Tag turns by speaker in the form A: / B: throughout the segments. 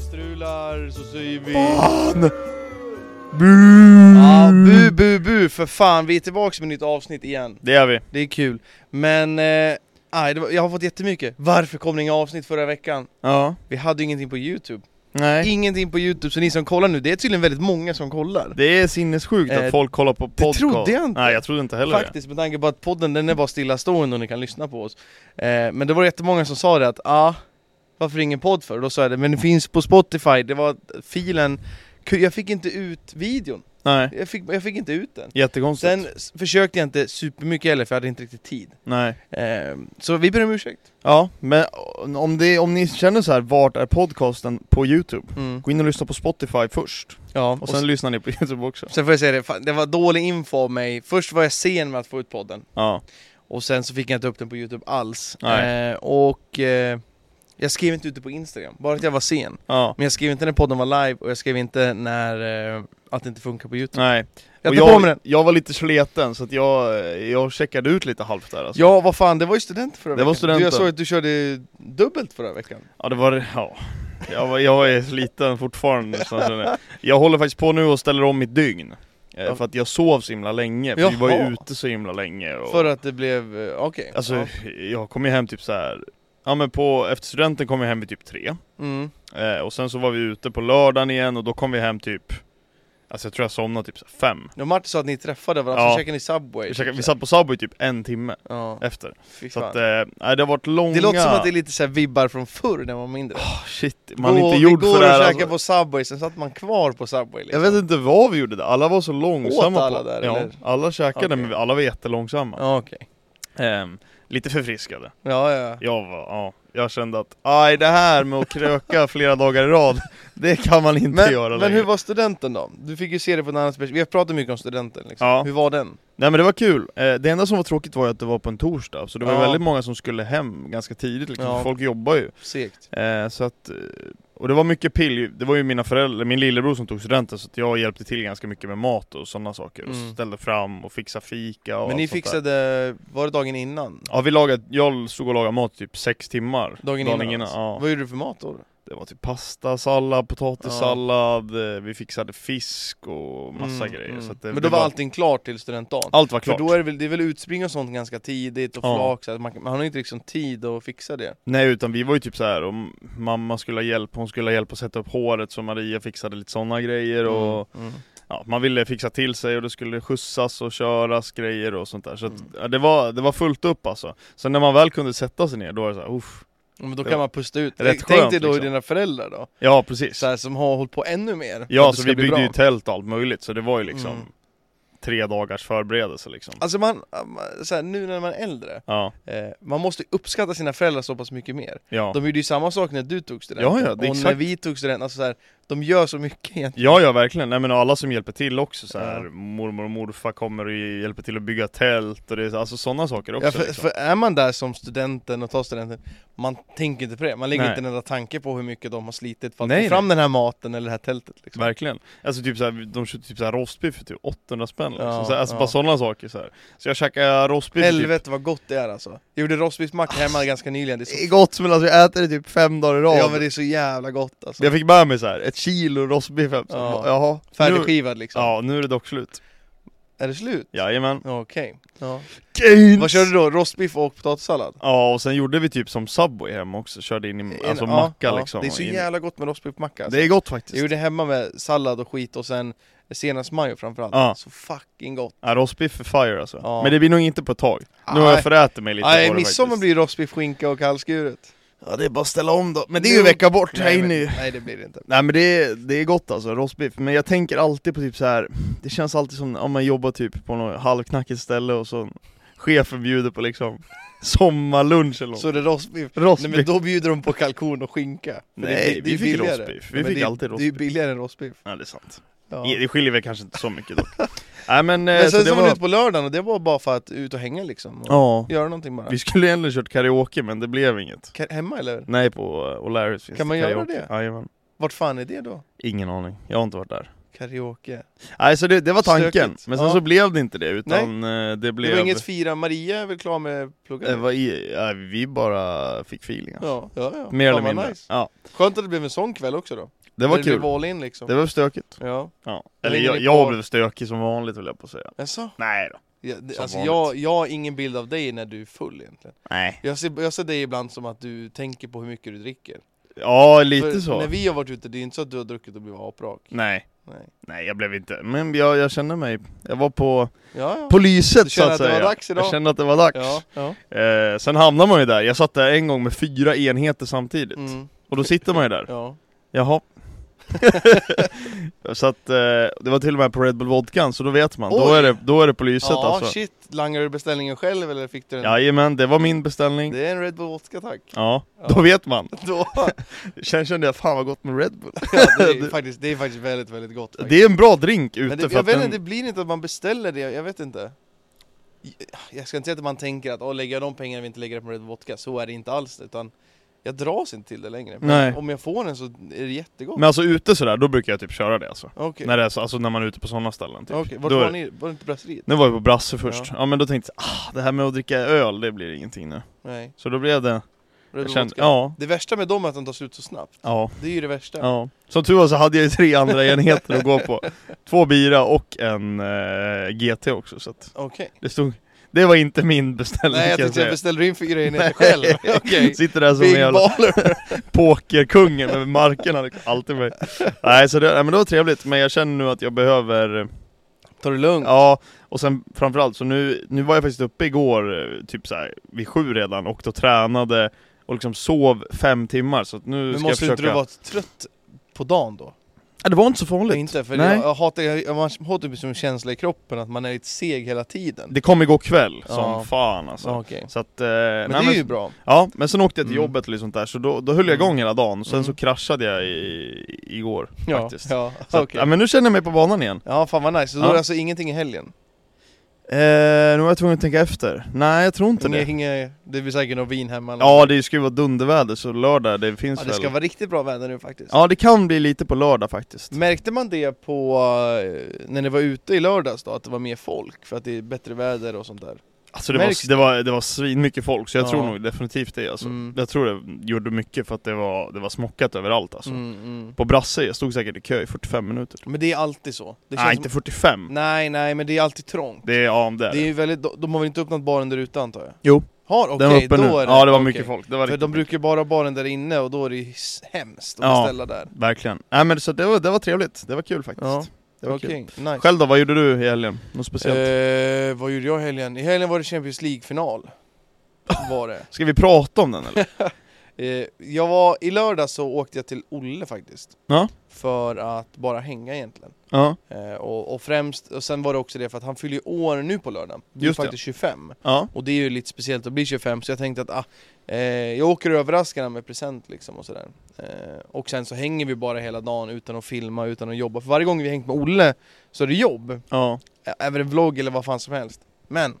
A: strular så säger vi...
B: Fan!
A: Ja, bu bu bu för fan, vi är tillbaks med nytt avsnitt igen.
B: Det gör vi.
A: Det är kul. Men, eh, aj, det var, jag har fått jättemycket. Varför kom det inga avsnitt förra veckan?
B: Ja.
A: Vi hade ju ingenting på youtube.
B: Nej.
A: Ingenting på youtube, så ni som kollar nu, det är tydligen väldigt många som kollar.
B: Det är sinnessjukt att
A: Eh,
B: folk kollar på podcast.
A: trodde jag inte.
B: Nej, jag trodde inte heller det.
A: Faktiskt med tanke på att podden den är bara stillastående och ni kan lyssna på oss. Eh, men det var jättemånga som sa det att ah, varför ingen podd för? Och då sa jag det, men det finns på Spotify, det var att filen, ku- jag fick inte ut videon.
B: Nej.
A: Jag fick, jag fick inte ut den.
B: Jättekonstigt.
A: Sen s- försökte jag inte supermycket heller för jag hade inte riktigt tid.
B: Nej.
A: Eh, så vi ber om ursäkt.
B: Ja, men eh, om, det, om ni känner så här, vart är podcasten på Youtube? Gå in och lyssna på Spotify först.
A: Ja,
B: Mm. Och sen lyssnar ni på Youtube också.
A: sen får jag säga det, fan, det var dålig info av mig. Först var jag sen med att få ut podden.
B: Ja.
A: Och sen så fick jag inte upp den på Youtube alls.
B: Nej.
A: Eh, och eh, jag skrev inte ut det på Instagram, bara att jag var sen.
B: Ja.
A: Men jag skrev inte när podden var live och jag skrev inte när eh, att det inte funkar på Youtube.
B: Nej.
A: Jag
B: Och
A: tar på mig den!
B: jag var lite sleten så att jag, eh, jag checkade ut lite halvt där alltså.
A: Ja, vad fan, det var ju student förra
B: Det var
A: veckan. Du, jag
B: studenten.
A: såg att du körde dubbelt förra veckan.
B: Ja det var, ja. Jag, var, jag är sliten fortfarande så känner jag. jag håller faktiskt på nu och ställer om mitt dygn Eh,
A: Ja.
B: För att jag sov så himla länge, för vi var
A: Jaha.
B: ju ute så himla länge och,
A: För att det blev, eh, okej.
B: Alltså
A: Ja.
B: jag kom ju hem typ så här. Ja men på, efter studenten kom jag hem vid typ tre
A: Mm.
B: eh, Och sen så var vi ute på lördagen igen och då kom vi hem typ Alltså jag tror jag somnade typ så här fem
A: Ja, Martin sa att ni träffade varandra,
B: Ja.
A: så käkade ni Subway.
B: vi,
A: typ
B: käkade, vi
A: så här.
B: satt på Subway typ en timme
A: Ja,
B: efter
A: fy
B: Så
A: fan.
B: att, eh, nej det har varit långa
A: Det låter som att det är lite så här vibbar från förr när man var mindre.
B: Ah, Shit, man är
A: Gå-
B: inte gjord
A: vi går
B: för det här
A: och
B: alltså.
A: käkar på Subway, sen satt man kvar på Subway
B: Jag
A: liksom.
B: vet inte vad vi gjorde där, alla var så långsamma
A: Åt alla
B: på,
A: där,
B: ja,
A: eller?
B: Alla käkade
A: Okej.
B: men vi- alla var jättelångsamma
A: Ja, okej.
B: Ehm, Lite förfriskade
A: Ja, ja.
B: Jag var, ja, jag kände att aj det här med att kröka flera dagar i rad Det kan man inte göra
A: Men, men
B: längre
A: hur var studenten då? Du fick ju se det på en annan perspektiv. Vi har pratat mycket om studenten liksom.
B: Ja.
A: Hur var den?
B: Nej men det var kul, Eh, det enda som var tråkigt var ju att det var på en torsdag Så det var
A: Ja.
B: väldigt många som skulle hem ganska tidigt liksom,
A: Ja.
B: för folk jobbar ju
A: Segt.
B: Eh, Så att, eh, och det var mycket pill, det var ju mina föräldrar, min lillebror som tog studenten så att jag hjälpte till ganska mycket med mat och sådana saker och
A: Mm.
B: ställde fram och fixade fika och
A: Men
B: allt
A: ni
B: sånt där.
A: fixade, var det dagen innan?
B: Ja vi lagade, jag stod och lagade mat i typ sex timmar
A: Dagen innan? alltså.
B: ja.
A: Vad gjorde du för mat då?
B: Det var typ pasta, sallad, potatissallad, eh, vi fixade fisk och massa
A: Mm,
B: grejer
A: mm.
B: så att det,
A: Men då
B: det
A: var allting klart till studentdagen?
B: allt var
A: För
B: klart
A: då är det väl, det är väl utspring och sånt ganska tidigt och
B: Ja.
A: flak, så att man, man har inte liksom tid att fixa det.
B: Nej utan vi var ju typ så här och m- mamma skulle ha hjälp, hon skulle ha hjälp att sätta upp håret så Maria fixade lite sådana grejer och
A: Mm, mm.
B: ja, man ville fixa till sig och det skulle skjutsas och köras grejer och sånt där så att,
A: Mm.
B: ja, det, var, det var fullt upp alltså Sen när man väl kunde sätta sig ner då var det så här, uff.
A: Men då
B: Det
A: kan
B: var
A: man pusta ut.
B: rätt
A: Tänk
B: skönt,
A: dig då
B: liksom.
A: dina föräldrar då,
B: Ja precis
A: så här, som har hållit på ännu mer. för
B: Ja,
A: att det
B: så
A: ska
B: vi
A: bli
B: byggde
A: bra.
B: ju tält och allt möjligt, så det var ju liksom
A: Mm.
B: tre dagars förberedelse liksom.
A: Alltså man, man- så här, nu när man är äldre,
B: Ja,
A: eh, man måste ju uppskatta sina föräldrar så pass mycket mer.
B: ja.
A: De gjorde ju samma sak när du tog studenten,
B: Ja, ja, det är
A: och när
B: exakt.
A: vi tog studenten, alltså så här, de gör så mycket egentligen.
B: Ja, ja verkligen. Nej men och alla som hjälper till också så här,
A: Ja.
B: mormor och morfar kommer och hjälper till att bygga tält och det är alltså sådana saker också.
A: Ja, för,
B: liksom.
A: för är man där som studenten och tar studenten, man tänker inte på det. Man lägger
B: Nej.
A: inte en enda tanke på hur mycket de har slitit för att
B: Nej,
A: få fram den här maten eller det här tältet. Liksom.
B: Verkligen. Alltså typ såhär, de köpte typ såhär rostbiff för typ 800 spänn liksom.
A: Ja,
B: så här, alltså
A: ja.
B: bara sådana saker så här. Så jag käkade rostbiff för typ,
A: Helvete vad gott det är alltså. Jag gjorde rostbiffmacka
B: Ah.
A: hemma ganska nyligen, det är
B: Det är
A: så,
B: gott men alltså jag äter det typ fem dagar i rad.
A: ja, men det är så jävla gott alltså.
B: Jag fick med mig såhär, ett kilo rostbiff hem. Så
A: Ja.
B: bara, Jaha. nu,
A: Färdigskivad liksom.
B: Ja, nu är det dock slut.
A: Är det slut?
B: Jajamän.
A: Okej. Ja.
B: Gains!
A: Vad körde du då? Rostbiff och potatissallad?
B: Ja och sen gjorde vi typ som Subway hemma också, körde in i
A: En-
B: alltså
A: ja,
B: macka
A: ja.
B: liksom
A: Det är så
B: in-
A: jävla gott med rostbiffmacka alltså.
B: Det är gott
A: Jag
B: faktiskt!
A: gjorde hemma med sallad och skit och sen senapsmajo framförallt.
B: Ja.
A: Så fucking gott.
B: Ja, rostbiff för fire alltså,
A: Ja.
B: men det blir nog inte på ett tag Nu har
A: Nej.
B: jag förätit mig lite på
A: Nej,
B: det
A: midsommar
B: faktiskt.
A: blir rostbiff, skinka och kallskuret.
B: Ja det är bara att ställa om då, men
A: det är ju en vecka
B: bort,
A: men- nej, det blir det inte.
B: Nej men det är, det är gott alltså, rostbiff, men jag tänker alltid på typ så här. Det känns alltid som om man jobbar typ på något halvknackigt ställe och så Chefen bjuder på liksom sommarlunch eller något
A: Så är det rostbiff. Nej
B: Rostbiff!
A: men då bjuder de på kalkon och skinka. För det- det,
B: Nej,
A: det
B: vi
A: är
B: fick
A: billigare.
B: rostbiff. Vi
A: Nej, men
B: fick
A: det, är- Det
B: alltid
A: är
B: rostbiff.
A: ju billigare än rostbiff.
B: Nej det är sant,
A: Ja.
B: det skiljer väl kanske inte så mycket dock Nej men, eh,
A: Men
B: så
A: sen
B: det
A: så var vi
B: var...
A: ute på lördagen och det var bara för att ut och hänga liksom. Och
B: Ja,
A: Göra någonting bara.
B: Vi skulle egentligen kört karaoke men det blev inget
A: Ka- Hemma eller?
B: Nej på eh, O'Larrys finns
A: Kan
B: det
A: man göra
B: karaoke.
A: det?
B: Jajamän.
A: Vart fan är det då?
B: Ingen aning, jag har inte varit där
A: Karaoke.
B: Nej så det, det var tanken,
A: Stökigt.
B: men sen
A: Ja.
B: så blev det inte det utan eh, det
A: Det
B: blev... Eh,
A: var inget fira, Maria är väl klar med plugget?
B: det var i, nej, vi bara fick feeling alltså.
A: Ja, ja, ja.
B: Mer
A: Fan,
B: eller
A: vad
B: mindre
A: Nice.
B: ja.
A: Skönt att det blev en sån kväll också då.
B: Det var
A: Där
B: kul.
A: blev all in liksom.
B: Det var stökigt.
A: Ja.
B: Ja. Eller
A: ligger
B: jag,
A: ni
B: jag
A: kvar?
B: blev stökig som vanligt höll jag på att säga.
A: Jaså?
B: Nej då.
A: Ja, det,
B: Som
A: alltså
B: vanligt.
A: jag, jag har ingen bild av dig när du är full egentligen.
B: Nej.
A: Jag ser, jag ser dig ibland som att du tänker på hur mycket du dricker.
B: Ja,
A: För
B: lite så. Mm.
A: När vi har varit ute, det är inte så att du har druckit och blivit aprak.
B: Nej.
A: Nej.
B: Nej, jag blev inte. Men jag, jag kände mig... Jag var på,
A: Ja, ja.
B: på
A: Du
B: lyset så
A: kände
B: att
A: att det var
B: säga.
A: dags idag?
B: Jag kände att det var dags.
A: Ja, ja.
B: Eh, sen hamnar man ju där. Jag satt där en gång med fyra enheter samtidigt.
A: Mm,
B: Och då sitter man ju där.
A: ja.
B: Jaha. så att eh, det var till och med på Red Bull Vodkan, så då vet man. Då
A: Oj.
B: är, det, då är det på lyset
A: ja
B: alltså.
A: shit, langade du beställningen själv eller fick du den?
B: Jajamän, det var min beställning.
A: Det är en Red Bull Vodka tack.
B: Ja,
A: Ja.
B: då vet man.
A: Då,
B: Sen kände jag, fan vad gott med Red Bull.
A: ja, det, är faktiskt, det är faktiskt väldigt, väldigt gott. Faktiskt.
B: Det är en bra drink ute
A: Men det,
B: för
A: jag
B: att
A: vet
B: den...
A: inte, det blir inte att man beställer det, jag vet inte. Jag ska inte säga att man tänker att åh, lägger jag de pengarna vi inte lägger på Red Bull Vodka, så är det inte alls. Utan jag dras inte till det längre. Men
B: Nej.
A: om jag får den så är det jättegott.
B: Men alltså ute sådär, då brukar jag typ köra det alltså.
A: Okej,
B: När, det är så, alltså när man är ute på sådana ställen typ.
A: Okej, vart
B: Då är
A: var
B: det-
A: ni? Var det inte brasseriet?
B: Nu var vi på Brasse först.
A: Ja.
B: Ja. men då tänkte jag, ah, det här med att dricka öl, det blir ingenting nu.
A: Nej,
B: Så då blev det...
A: Red
B: Jag
A: Bull
B: kände,
A: Vodka.
B: ja,
A: Det värsta med dem är att de tar slut så snabbt.
B: ja,
A: Det är ju det värsta.
B: ja. Som tur var så hade jag ju tre andra enheter att gå på. Två bira och en eh, GT också, så att
A: Okej.
B: det stod... Det var inte min beställning
A: Nej, jag
B: kan jag
A: tänkte jag
B: säga.
A: beställde in fyra enheter själv. Okej.
B: Sitter där som en
A: Big
B: jävla
A: baller.
B: pokerkungen med markerna liksom, alltid med. Nej, så det, nej, men det var trevligt, men jag känner nu att jag behöver
A: Ta det lugnt.
B: Ja, och sen framförallt så nu, nu var jag faktiskt uppe igår, eh, typ så här, vid sju redan, och då tränade och liksom sov fem timmar så att nu
A: Men
B: ska jag
A: måste
B: försöka...
A: inte du vara trött på dagen då?
B: Ja, det var inte så farligt.
A: Inte, för
B: Nej.
A: jag, jag hatar, jag, jag har typ som en känsla i kroppen att man är lite seg hela tiden.
B: Det kom igår kväll, som
A: Ja.
B: fan alltså.
A: Ja, Okej.
B: Så att, eh,
A: Men
B: nej,
A: det är
B: men,
A: ju bra.
B: Ja, men sen åkte jag till
A: Mm.
B: jobbet eller sånt där, så då, då höll jag
A: Mm.
B: igång hela dagen, sen
A: Mm.
B: så kraschade jag i, igår
A: Ja,
B: faktiskt.
A: ja,
B: Så att,
A: okej.
B: ja, men nu känner jag mig på banan igen.
A: ja, fan vad nice. Så då
B: Ja.
A: är det alltså ingenting i helgen?
B: Eh, nu var jag tvungen att tänka efter. Nej, jag tror inte
A: Inge,
B: det.
A: inge, det blir säkert någon vin hemma eller
B: Ja, det ska ju vara dunderväder, så lördag, det finns
A: ja, det ska
B: väl...
A: vara riktigt bra väder nu faktiskt.
B: Ja, det kan bli lite på lördag faktiskt.
A: Märkte man det på, eh, när ni var ute i lördags då, att det var mer folk? För att det är bättre väder och sånt där?
B: Alltså det
A: Märks
B: var, det var, det var svinmycket folk, så jag
A: Ja.
B: tror nog definitivt det alltså.
A: Mm.
B: Jag tror det gjorde mycket för att det var, det var smockat överallt alltså.
A: Mm, mm.
B: På Brasse, jag stod säkert i kö i 45 minuter.
A: Men det är alltid så. Det
B: Nej,
A: som-
B: inte 45.
A: Nej, nej, men det är alltid trångt.
B: Det är, ja, det är
A: Det är ju väldigt, de- de har väl inte öppnat baren där ute antar jag?
B: Jo.
A: Har? Okej,
B: Den var uppe
A: då
B: nu.
A: är det.
B: ja, det var
A: okej.
B: mycket folk. Det
A: För
B: var riktigt
A: de brukar bara ha baren där inne och då är det ju s- hemskt att
B: Ja.
A: beställa där.
B: mycket. Verkligen. Nej men så det var, det var trevligt. Det var kul faktiskt.
A: Ja.
B: Det var kul.
A: Okej, nice.
B: Själv då, vad gjorde du i helgen? Något speciellt?
A: Eh, vad gjorde jag i helgen? I helgen var det Champions League-final. Var det.
B: Ska vi prata om den eller?
A: Eh, jag var, I lördag så åkte jag till Olle faktiskt.
B: Ja.
A: För att bara hänga egentligen.
B: ja.
A: Eh, och, och främst, och sen var det också det för att han fyller ju år nu på lördag. Det är
B: Just det.
A: faktiskt 25.
B: Ja.
A: Och det är ju lite speciellt att bli 25 så jag tänkte att ah, eh, jag åker och överraskar honom med present liksom och sådär. Eh, och sen så hänger vi bara hela dagen utan att filma, utan att jobba. För varje gång vi hängt med Olle så är det jobb.
B: ja.
A: Ä- Även en vlogg eller vad fan som helst. Men... eh,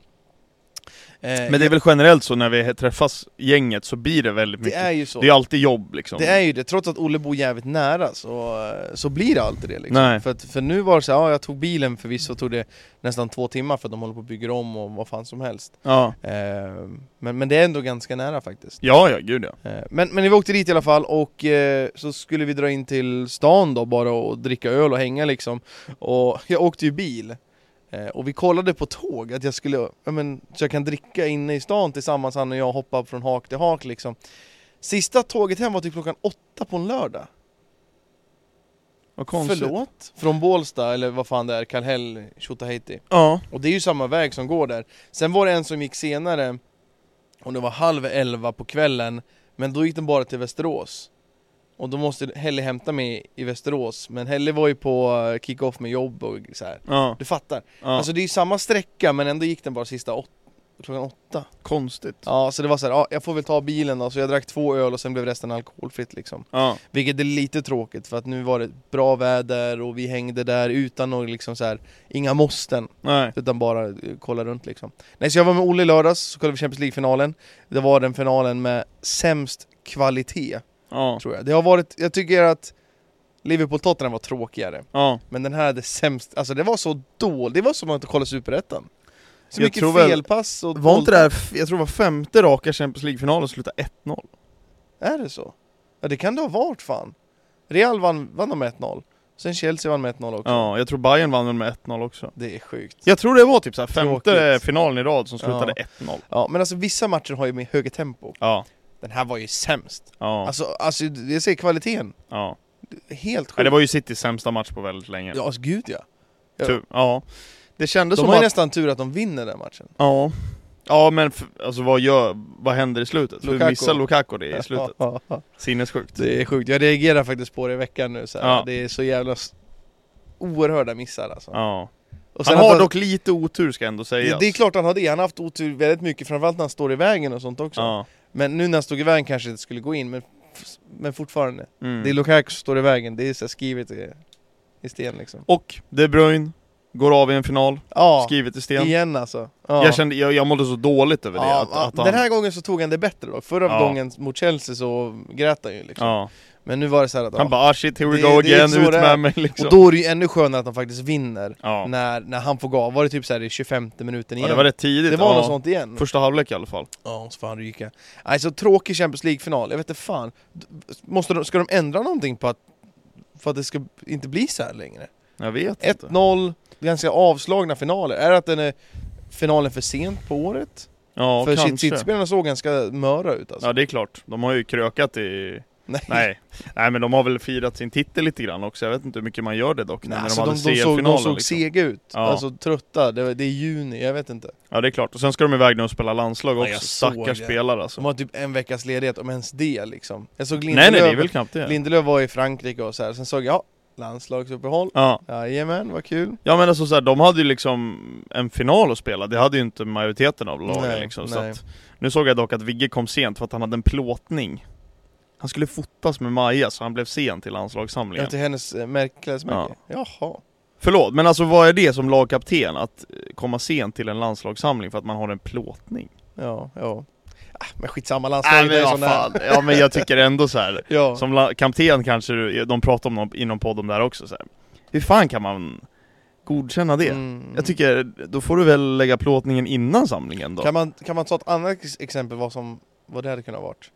B: Men det är väl generellt så när vi träffas gänget så blir det väldigt
A: det
B: mycket.
A: är ju så.
B: det är alltid jobb liksom.
A: Det är ju det, trots att Olle bor jävligt nära så, eh, så blir det alltid det liksom.
B: Nej.
A: För, att, för nu var det så här, ja jag tog bilen förvisso tog det nästan två timmar för att de håller på och bygger om och vad fan som helst.
B: Ja.
A: Eh, men, men det är ändå ganska nära faktiskt.
B: Ja, ja, gud ja.
A: Eh, Men, men vi åkte dit i alla fall och eh, så skulle vi dra in till stan då bara och dricka öl och hänga liksom. Och jag åkte ju bil. Eh, och vi kollade på tåg, att jag skulle, ja, men, så jag kan dricka inne i stan tillsammans han och jag hoppar från hak till hak liksom. Sista tåget hem var typ klockan åtta på en lördag.
B: Vad konstigt.
A: Förlåt? Från Bålsta eller vad fan det är, Kallhäll, Tjotahejti.
B: Ja.
A: Och det är ju samma väg som går där. Sen var det en som gick senare, och det var halv elva på kvällen, men då gick den bara till Västerås. Och då måste Helle hämta mig i Västerås, men Helle var ju på eh, kick-off med jobb och så här.
B: Ja.
A: Du fattar.
B: ja.
A: Alltså det är ju samma sträcka, men ändå gick den bara sista åt klockan åtta.
B: konstigt. Ja.
A: Ja, så det var så här, ja, jag får väl ta bilen då. Så jag drack två öl och sen blev resten alkoholfritt liksom. Vilket är lite tråkigt, för att nu var det bra väder och vi hängde där utan några liksom så här, inga måsten.
B: Nej.
A: Utan bara eh, kolla runt liksom. Nej, så jag var med Olle i lördags, så kollade vi Champions League-finalen. Det var den finalen med sämst kvalitet,
B: Ja.
A: tror jag. Det har varit, jag tycker att Liverpool-Tottenham var tråkigare.
B: Ja.
A: Men den här hade sämst, alltså det var så dåligt, det var som att inte kolla Superettan. Så
B: Jag
A: mycket
B: tror väl-
A: felpass och...
B: Var inte det här, f- jag tror det var femte raka Champions League-finalen slutade 1-0?
A: Är det så? Ja det kan det ha varit fan. Real vann, vann de med 1-0. Sen Chelsea vann med 1-0 också.
B: Ja, jag tror Bayern vann väl med 1-0 också.
A: Det är sjukt.
B: Jag tror det var typ så här femte
A: Tråkigt.
B: finalen i rad som slutade 1-0.
A: Ja, men alltså vissa matcher har ju mer högre tempo.
B: Ja,
A: Den här var ju sämst.
B: ja,
A: Alltså, alltså jag ser kvaliteten.
B: ja.
A: Helt
B: ja.
A: sjukt.
B: Det var ju Citys sämsta match på väldigt länge.
A: Ja, alltså, gud ja.
B: Tur- ja. Det kändes
A: De
B: som
A: har ju
B: att...
A: nästan tur att de vinner den matchen.
B: Ja. Ja men f- alltså vad gör, vad händer i slutet? Hur
A: Lukaku.
B: missar Lukaku det i slutet? Sinnessjukt.
A: det är sjukt. Jag reagerar faktiskt på det i veckan nu. Så här.
B: Ja.
A: Det är så jävla s- oerhörda missar alltså.
B: Ja.
A: Och
B: Han
A: att
B: har dock lite otur ska ändå
A: det,
B: sägas.
A: det är klart han har det. Han har haft otur väldigt mycket, framförallt när han står i vägen och sånt också.
B: Ja.
A: Men nu när han stod i vägen kanske det inte skulle gå in, men, f- men fortfarande.
B: Mm.
A: Det är Lukaku som står i vägen, det är så här skrivet i, i sten liksom.
B: Och De Bruyne går av i en final,
A: Ja,
B: skrivet i sten.
A: igen alltså. Ja.
B: Jag, kände, jag, jag mådde så dåligt över det.
A: Ja,
B: att, att
A: ja,
B: han,
A: Den här gången så tog han det bättre då. Förra
B: Ja.
A: gången mot Chelsea så grät han ju liksom.
B: ja.
A: Men nu var det så här att...
B: han
A: ja.
B: bara ah, shit, here we
A: Det-
B: go
A: det är
B: again,
A: så
B: ut
A: det är.
B: med mig liksom.
A: Och då är det ju ännu skönare att han faktiskt vinner.
B: ja.
A: När, när han får gå av. Var det typ så här i 25 minuten
B: ja,
A: igen?
B: det var rätt tidigt.
A: Det var
B: ja.
A: något sånt igen.
B: Första halvlek i alla fall.
A: Ja, så får han ryka. Nej, så tråkig Champions League-final. Jag vet inte fan. D- Måste de, ska de ändra någonting på att, för att det ska inte bli så här längre?
B: Jag vet inte.
A: 1-0, ganska avslagna finaler. Är det att den är finalen för sent på året?
B: Ja,
A: för
B: kanske.
A: City- City-spelarna såg ganska möra ut alltså.
B: Ja, det är klart. De har ju krökat i...
A: Nej.
B: Nej. Nej, men de har väl firat sin titel lite grann också. Jag vet inte hur mycket man gör det dock.
A: Nej,
B: när
A: alltså,
B: hade
A: de, de, såg, de
B: CL-finalen,
A: såg
B: liksom.
A: sega ut,
B: Ja.
A: alltså trötta, det, var- det är juni, jag vet inte.
B: Ja, det är klart. Och sen ska de iväg nu och spela landslag
A: Ja,
B: också.
A: jag såg
B: Stackars
A: det.
B: spelare alltså.
A: De har typ en veckas ledighet, om ens det liksom. Jag såg
B: Nej,
A: Lindelöf,
B: nej, det är väl knappt det.
A: Lindelöf var i Frankrike och så här. sen såg jag, ja, landslagsuppehåll.
B: Ja.
A: Jajamän, vad kul.
B: Ja men alltså så här, de hade ju liksom en final att spela, det hade ju inte majoriteten av lagen
A: Nej,
B: liksom. Så
A: nej.
B: att, nu såg jag dock att Vigge kom sent för att han hade en plåtning. Han skulle fotas med Maja så han blev sen till
A: Ja,
B: landslagssamlingen.
A: till hennes eh, märk- klädesmärke? Jaha.
B: Förlåt, men alltså vad är det som lagkapten? Att eh, komma sent till en landslagssamling för att man har en plåtning? Alltså,
A: Ja, ja. Ah, men skitsamma, landslaget
B: Nej men
A: är
B: vad
A: sån
B: fan,
A: där.
B: ja men jag tycker ändå så här.
A: Ja.
B: Som la- kapten kanske, du- de pratar om någon, inom podden där också så här. Hur fan kan man godkänna det?
A: Mm.
B: Jag tycker, då får du väl lägga plåtningen innan samlingen då?
A: kan, man, kan man ta ett annat ex- exempel vad, som, vad det hade kunnat varit?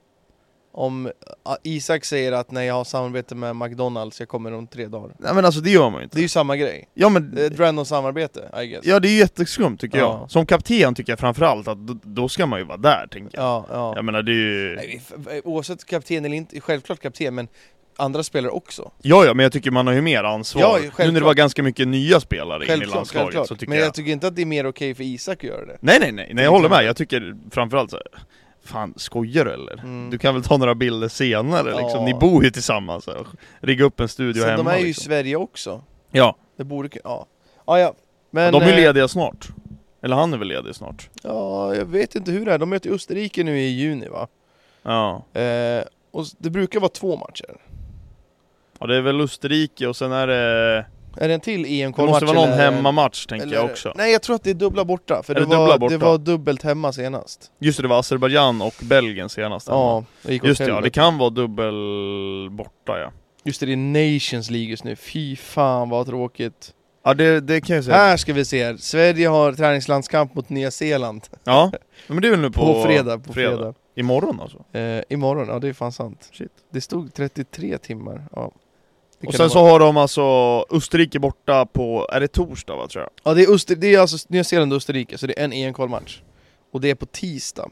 A: Om ah, Isak säger att när jag har samarbete med McDonalds, jag kommer om tre dagar.
B: Nej men alltså det gör man ju inte.
A: Det är ju samma grej.
B: Ja men,
A: Det är Ett random samarbete, I guess.
B: Mm. ja det är ju jätteskumt tycker
A: Ja.
B: jag. Som kapten tycker jag framförallt att då, då ska man ju vara där tänker jag.
A: ja. ja.
B: Jag menar det är
A: Nej, vi-
B: ju...
A: f- oavsett kapten eller inte, självklart kapten, men andra spelare också.
B: Ja ja, men jag tycker man har ju mer ansvar.
A: Ja,
B: nu när det
A: självklart.
B: var ganska mycket nya spelare in i
A: Självklart,
B: landslaget
A: självklart.
B: så tycker
A: men
B: jag...
A: jag, tycker inte att det är mer okej för Isak att göra det.
B: Nej nej nej, nej jag håller med. Jag tycker framförallt så här, Fan, skojar du eller?
A: Mm.
B: Du kan väl ta några bilder senare
A: Ja.
B: liksom? Ni bor ju tillsammans. här. Rigga upp en studio
A: Sen de
B: hemma
A: är ju i
B: liksom.
A: Sverige också.
B: Ja,
A: Det borde ku- ja. Ja, ja. Men,
B: de är ju
A: eh,
B: lediga snart. Eller han är väl ledig snart?
A: Ja, jag vet inte hur det är. De möter Österrike nu i juni va?
B: Ja.
A: Eh, och s- det brukar vara två matcher.
B: Ja det är väl Österrike och sen är det...
A: Är det en till
B: Det
A: EM-kvalmatch?
B: måste vara någon
A: eller-
B: hemmamatch tänker
A: eller-
B: jag också.
A: Nej, jag tror att det är dubbla borta. För
B: Är
A: det,
B: det dubbla
A: var,
B: borta?
A: det var dubbelt hemma senast.
B: Just det, det var Azerbajdzjan och Belgien senast.
A: Ja, det gick åt
B: Just det, ja,
A: helvete.
B: det kan vara dubbel borta ja.
A: Just det, det är Nations League just nu. Fy fan vad tråkigt.
B: Ja det, det kan jag
A: Här ska vi se. Sverige har träningslandskamp mot Nya Zeeland.
B: Ja, men det är väl nu på,
A: På, fredag. På fredag.
B: Imorgon alltså.
A: Eh, imorgon, ja det är fan sant.
B: Shit.
A: Det stod 33 timmar. Ja. Det
B: Och
A: kan
B: sen
A: det
B: så har de alltså Österrike borta på, är det torsdag va tror jag?
A: Ja, det är, Öster- det är alltså Nya Zeeland och Österrike, så det är en EM-kvalmatch. Och det är på tisdag,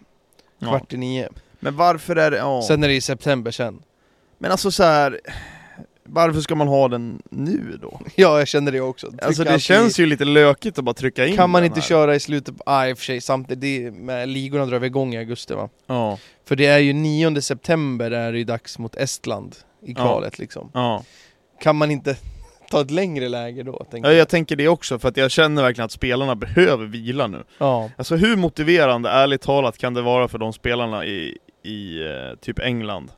B: Ja.
A: kvart i nio.
B: Men varför är det, ja.
A: Sen är det i september sen.
B: Men alltså så här. Varför ska man ha den nu då?
A: Ja, jag känner det också.
B: Alltså det känns ju lite lökigt att bara trycka in
A: Kan man
B: den
A: inte
B: här.
A: köra i slutet på... Ah, i och för sig, samtidigt, det är med ligorna drar vi igång i augusti va?
B: Ja,
A: För det är ju 9 september är det ju dags mot Estland i
B: Ja.
A: kvalet liksom.
B: ja.
A: Kan man inte ta ett längre läge då? Tänker
B: ja. Jag tänker det också för att jag känner verkligen att spelarna behöver vila nu.
A: Ja.
B: Alltså hur motiverande, ärligt talat, kan det vara för de spelarna i, i eh, typ England?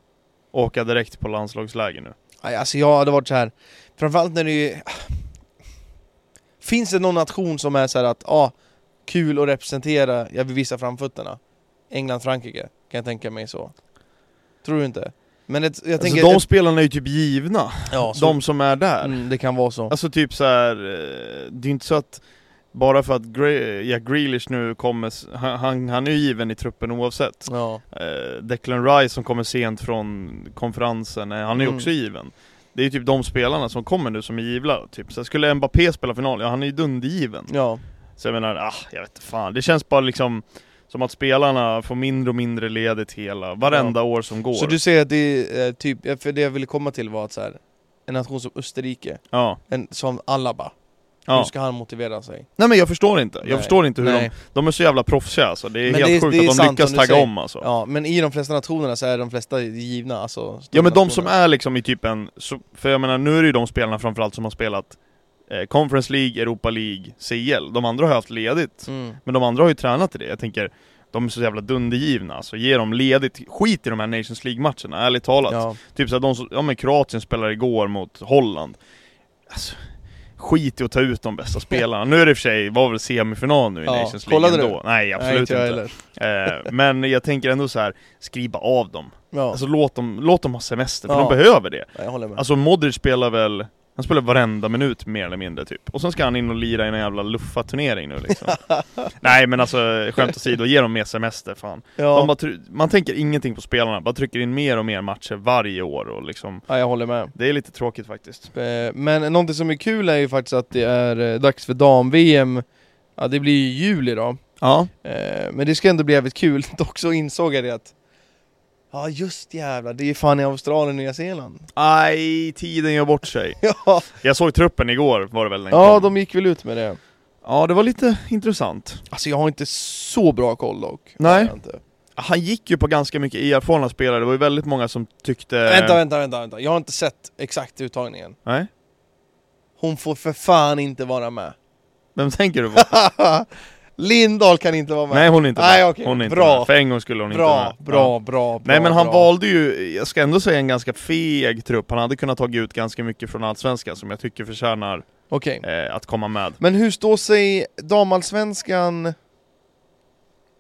B: Åka direkt på landslagsläger nu?
A: Nej, alltså jag hade varit så här. framförallt när det är... Finns det någon nation som är så här att, ja, ah, kul att representera, jag vill visa framfötterna? England-Frankrike, kan jag tänka mig så. Tror du inte? Men ett, jag
B: Alltså,
A: tänker...
B: de
A: ett,
B: spelarna är ju typ givna,
A: ja, så,
B: de som är där.
A: Alltså- mm, det kan vara så.
B: Alltså typ så här, eh, det är inte så att bara för att Gre- Jack Grealish nu kommer, s- han, han, han är ju given i truppen oavsett.
A: Ja.
B: Eh, Declan Rice som kommer sent från konferensen, eh, han är ju
A: Mm.
B: också given. Det är ju typ de spelarna som kommer nu som är givna, typ. Så skulle Mbappé spela final, ja han är ju dundergiven.
A: Ja.
B: Så jag menar, ah, jag vet inte fan. Det känns bara liksom som att spelarna får mindre och mindre ledigt hela, varenda år som går.
A: Så du säger att det är eh, typ, eh, för det jag ville komma till var att så här, en nation som Österrike,
B: Ja.
A: en, som alla bara, hur
B: ja.
A: ska han motivera sig?
B: Nej men jag förstår inte. Jag
A: Nej.
B: förstår inte hur
A: Nej.
B: de... De är så jävla proffsiga alltså. Det är
A: Men
B: helt
A: det är-
B: sjukt
A: det är
B: att de
A: sant
B: lyckas
A: som du
B: tagga
A: säger.
B: om alltså. Ja,
A: Ja, men i de flesta nationerna så är de flesta givna, alltså stora
B: men de
A: nationer.
B: som är liksom i typ en... Så, för jag menar, nu är det ju de spelarna framförallt som har spelat eh, Conference League, Europa League, CL. De andra har ju haft ledigt.
A: mm.
B: Men de andra har ju tränat i det. Jag tänker, de är så jävla dundergivna alltså. Ge dem ledigt. Skit i de här Nations League-matcherna, ärligt talat.
A: ja.
B: Typ såhär, de som, ja men Kroatien spelade igår mot Holland. Alltså, skit i att ta ut de bästa spelarna. Nu är det i och för sig, var väl semifinal nu i
A: Ja,
B: Nations League
A: kollade
B: ändå. Nej,
A: Nej,
B: absolut
A: jag
B: inte.
A: heller.
B: Eh, men jag tänker ändå så här: skriva av dem.
A: Ja,
B: Alltså låt dem, låt dem ha semester, för
A: Ja.
B: de behöver det.
A: jag håller med.
B: Alltså Modric spelar väl, han spelar varenda minut mer eller mindre typ. Och sen ska han in och lira i någon jävla luffa-turnering nu liksom. Nej men alltså, skämt åsido, ge dem mer semester fan. De
A: ja.
B: bara, try- man tänker ingenting på spelarna, bara trycker in mer och mer matcher varje år och liksom
A: ja, jag håller med.
B: det är lite tråkigt faktiskt.
A: Eh, Men någonting som är kul är ju faktiskt att det är eh, dags för dam-VM, ja det blir ju i juli då.
B: Ja.
A: Eh, Men det ska ändå bli jävligt kul, dock så insåg jag det att Ja just jävlar, det är ju fan i Australien och Nya Zeeland.
B: Aj, tiden gör bort sig.
A: Ja,
B: Jag såg truppen igår var det väl den
A: ja
B: kom.
A: de gick väl ut med det.
B: ja, det var lite intressant.
A: Alltså jag har inte så bra koll dock.
B: Nej.
A: Har jag Inte.
B: Han gick ju på ganska mycket erfarna spelare, det var ju väldigt många som tyckte...
A: Vänta, vänta, vänta, vänta. Jag har inte sett exakt uttagningen.
B: Nej?
A: Hon får för fan inte vara med.
B: Vem tänker du på?
A: Lindahl kan inte vara med.
B: Nej hon är inte
A: Nej,
B: med.
A: okej.
B: Hon är inte
A: Bra.
B: med. För en gång skulle hon inte
A: bra,
B: med.
A: bra,
B: Ja.
A: bra, bra.
B: Nej men han
A: bra.
B: valde ju, jag ska ändå säga en ganska feg trupp. Han hade kunnat tagit ut ganska mycket från Allsvenskan som jag tycker förtjänar
A: Okej.
B: eh, att komma med.
A: Men hur står sig damallsvenskan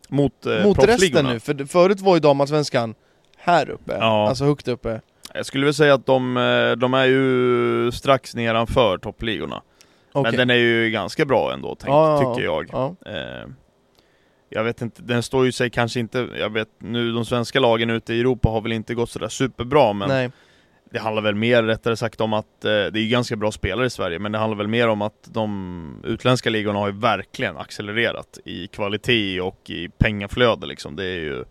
B: Mot, eh,
A: mot resten
B: proffsligorna.
A: nu? För förut var ju damallsvenskan här uppe,
B: Ja.
A: alltså högt uppe.
B: Jag skulle väl säga att de, eh, de är ju strax nedanför toppligorna.
A: Okej.
B: Men den är ju ganska bra ändå, tänk,
A: Ja, ja,
B: tycker jag.
A: Ja.
B: Eh, jag vet inte, den står ju sig kanske inte, jag vet nu de svenska lagen ute i Europa har väl inte gått sådär superbra men
A: Nej.
B: det handlar väl mer rättare sagt om att eh, det är ju ganska bra spelare i Sverige men det handlar väl mer om att de utländska ligorna har ju verkligen accelererat i kvalitet och i pengaflöde liksom. Det är ju